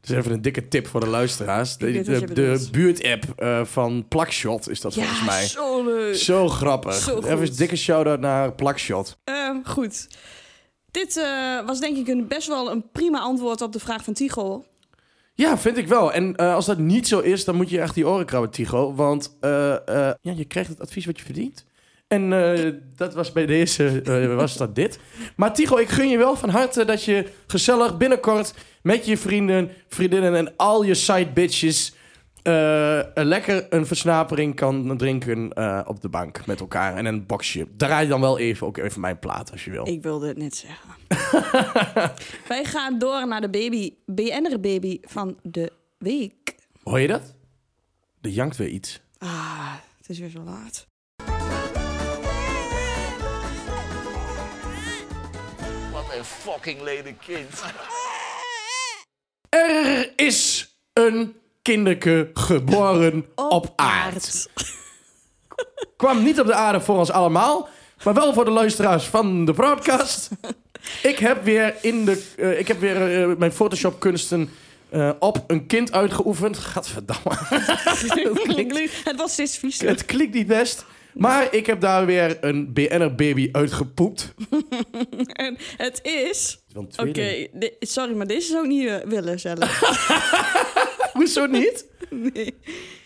Speaker 2: Dus even een dikke tip voor de luisteraars.
Speaker 1: Ik
Speaker 2: De,
Speaker 1: weet wat je
Speaker 2: de, de
Speaker 1: bedoelt.
Speaker 2: buurt-app eh, van Plakshot is dat volgens
Speaker 1: Ja,
Speaker 2: mij.
Speaker 1: zo leuk.
Speaker 2: Zo grappig.
Speaker 1: Zo goed.
Speaker 2: Even een dikke shout-out naar Plakshot.
Speaker 1: Eh, goed. Dit eh, was denk ik een, best wel een prima antwoord op de vraag van Tigo.
Speaker 2: Ja, vind ik wel. En eh, als dat niet zo is, dan moet je echt die oren krabben, Tigo. Want eh, eh, ja, je krijgt het advies wat je verdient. En eh, dat was bij deze, eh, was dat dit. Maar Tigo, ik gun je wel van harte dat je gezellig binnenkort met je vrienden, vriendinnen en al je side bitches... eh, een lekker een versnapering kan drinken eh, op de bank met elkaar. En een boxje. Draai dan wel even, ook even mijn plaat als je wil.
Speaker 1: Ik wilde het net zeggen. *laughs*
Speaker 2: *laughs*
Speaker 1: Wij gaan door naar de baby, BN'er baby van de week.
Speaker 2: Hoor je dat? Er jankt weer iets.
Speaker 1: Ah, het is weer zo laat.
Speaker 5: Wat een fucking lelijk kind.
Speaker 2: Er is een kinderke
Speaker 1: *laughs*
Speaker 2: geboren op *laughs* aard. Kwam niet op de aarde voor ons allemaal, maar wel voor de luisteraars van de
Speaker 1: *laughs*
Speaker 2: broadcast. Ik heb weer, in de, eh, ik heb weer eh, mijn Photoshop kunsten op een kind uitgeoefend. Gadverdamme. *laughs* Dat klinkt-
Speaker 1: het was steeds vies.
Speaker 2: het klinkt niet best. Maar ik heb daar weer een BN'er baby uitgepoept.
Speaker 1: En het is...
Speaker 2: Wel een
Speaker 1: Oké,
Speaker 2: tweeling.
Speaker 1: de- sorry, maar deze zou ik niet eh, willen
Speaker 2: *laughs*
Speaker 1: zelf.
Speaker 2: Hoezo niet?
Speaker 1: *laughs* Nee.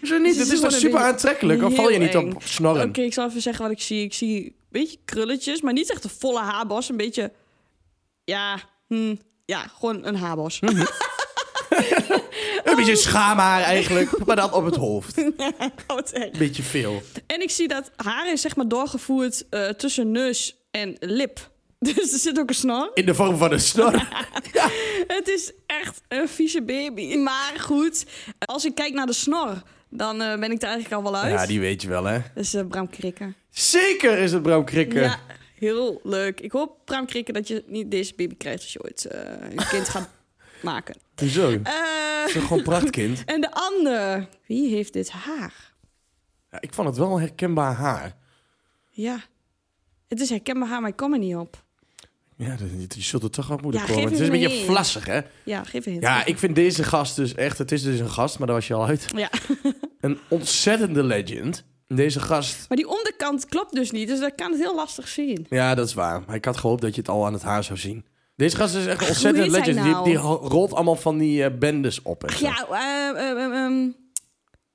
Speaker 2: Hoezo niet?
Speaker 1: Ze
Speaker 2: Het is
Speaker 1: is
Speaker 2: toch
Speaker 1: gewoon
Speaker 2: super
Speaker 1: een beetje-
Speaker 2: aantrekkelijk? Of val je
Speaker 1: Heel
Speaker 2: niet
Speaker 1: eng.
Speaker 2: op
Speaker 1: Oké,
Speaker 2: snorren?
Speaker 1: ik zal even zeggen wat ik zie. Ik zie een beetje krulletjes, maar niet echt een volle haarbos. Een beetje, ja, hm, ja gewoon een haarbos.
Speaker 2: Een
Speaker 1: Oh.
Speaker 2: beetje schaamhaar eigenlijk, maar dan op het hoofd. Een
Speaker 1: *laughs* Wat eng.
Speaker 2: beetje veel.
Speaker 1: en ik zie dat haar is zeg maar doorgevoerd eh, tussen neus en lip. Dus er zit ook een snor.
Speaker 2: In de vorm van een snor.
Speaker 1: *laughs* Het is echt een vieze baby. Maar goed, als ik kijk naar de snor, dan eh, ben ik er eigenlijk al wel uit.
Speaker 2: Ja, die weet je wel, hè?
Speaker 1: Dat is eh, Bram Krikken.
Speaker 2: Zeker is het Bram Krikke.
Speaker 1: Ja, heel leuk. Ik hoop, Bram Krikken, dat je niet deze baby krijgt als je ooit eh, een kind
Speaker 2: *laughs*
Speaker 1: gaat maken.
Speaker 2: Hoezo? Het
Speaker 1: Eh,
Speaker 2: is toch gewoon een prachtkind?
Speaker 1: en de ander. Wie heeft dit haar?
Speaker 2: *laughs* Ja, ik vond het wel een herkenbaar haar.
Speaker 1: Ja. Het is herkenbaar haar, maar ik kom er niet op.
Speaker 2: Ja, dat- je zult er toch wat moeten
Speaker 1: Ja,
Speaker 2: komen.
Speaker 1: geef
Speaker 2: Het is een
Speaker 1: hem
Speaker 2: beetje
Speaker 1: een hint.
Speaker 2: vlassig, hè?
Speaker 1: Ja, geef een hint.
Speaker 2: Ja, ik vind deze gast dus echt... Het is dus een gast, maar daar was je al uit.
Speaker 1: Ja.
Speaker 2: Een ontzettende legend. Deze gast...
Speaker 1: Maar die onderkant klopt dus niet, dus dat kan het heel lastig zien.
Speaker 2: Ja, dat is waar. Maar ik had gehoopt dat je het al aan het haar zou zien. Deze gast is echt een ontzettende
Speaker 1: heet hij
Speaker 2: legend. Die,
Speaker 1: nou?
Speaker 2: die ho- rolt allemaal van die eh, bendes op. en zo.
Speaker 1: Ja, eh, eh, eh, ehm,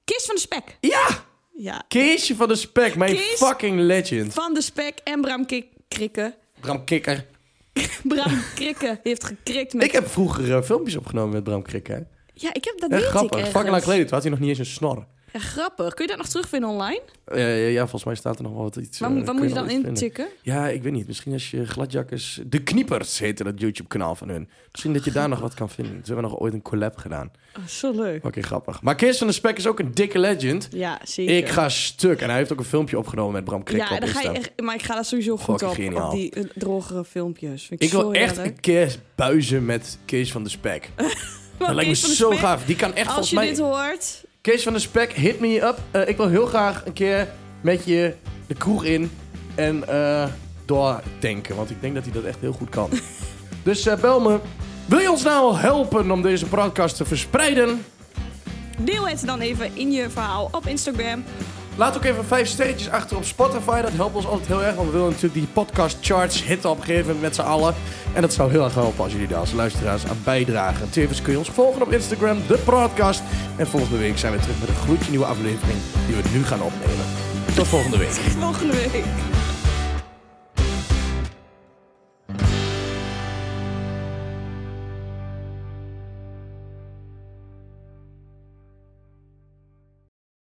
Speaker 1: Kist van de Spek.
Speaker 2: ja!
Speaker 1: Ja,
Speaker 2: Keesje van de Spek, mijn
Speaker 1: Kees?
Speaker 2: fucking legend.
Speaker 1: van de Spek en Bram Kik Krikken.
Speaker 2: Bram Kikker. *laughs*
Speaker 1: Bram Krikken heeft gekrikt met...
Speaker 2: Ik heb vroeger eh, filmpjes opgenomen met Bram Kikker. hè.
Speaker 1: Ja, ik heb dat
Speaker 2: Echt
Speaker 1: weet ik
Speaker 2: grappig. Fucking
Speaker 1: ergens.
Speaker 2: lang geleden, toen had hij nog niet eens een snor.
Speaker 1: Ja, grappig. Kun je dat nog terugvinden online?
Speaker 2: Eh, ja, volgens mij staat er nog wel wat iets.
Speaker 1: Waar,
Speaker 2: eh,
Speaker 1: moet- waar
Speaker 2: kun
Speaker 1: moet je dan
Speaker 2: nog iets vinden.
Speaker 1: intikken?
Speaker 2: Ja, ik weet niet. Misschien als je gladjakkers... De Kniepers heette dat YouTube-kanaal van hun. Misschien dat je daar nog wat kan vinden. Ze hebben nog ooit een collab gedaan.
Speaker 1: Oh, zo leuk.
Speaker 2: Fucking grappig. Maar Kees van de Spek is ook een dikke legend.
Speaker 1: Ja, zeker.
Speaker 2: Ik ga stuk. En hij heeft ook een filmpje opgenomen met Bram Krikker
Speaker 1: ja,
Speaker 2: op
Speaker 1: dan ga je
Speaker 2: Insta.
Speaker 1: echt, maar ik ga daar sowieso goed
Speaker 2: Fucking
Speaker 1: op,
Speaker 2: geniaal.
Speaker 1: op die eh, drogere filmpjes. Vind ik,
Speaker 2: Ik wil
Speaker 1: zo
Speaker 2: echt
Speaker 1: heerlijk.
Speaker 2: een keer buizen met Kees van de
Speaker 1: *laughs*
Speaker 2: Spek.
Speaker 1: Maar
Speaker 2: Dat lijkt me
Speaker 1: Kees van de
Speaker 2: zo
Speaker 1: Spek,
Speaker 2: gaaf. Die kan
Speaker 1: Als
Speaker 2: echt volgens
Speaker 1: je
Speaker 2: mij...
Speaker 1: dit hoort,
Speaker 2: Kees van de Spek, hit me up. Eh, ik wil heel graag een keer met je de kroeg in en eh doordenken. Want ik denk dat hij dat echt heel goed kan. dus eh, bel me. Wil je ons nou helpen om deze podcast te verspreiden?
Speaker 1: deel het dan even in je verhaal op Instagram.
Speaker 2: Laat ook even vijf sterretjes achter op Spotify. Dat helpt ons altijd heel erg. Want we willen natuurlijk die podcast charts hit opgeven met z'n allen. En dat zou heel erg helpen als jullie daar als luisteraars aan bijdragen. Tevens kun je ons volgen op Instagram, de podcast. En volgende week zijn we terug met een gloedje nieuwe aflevering die we nu gaan opnemen. Tot Tot volgende week.
Speaker 1: Volgende week.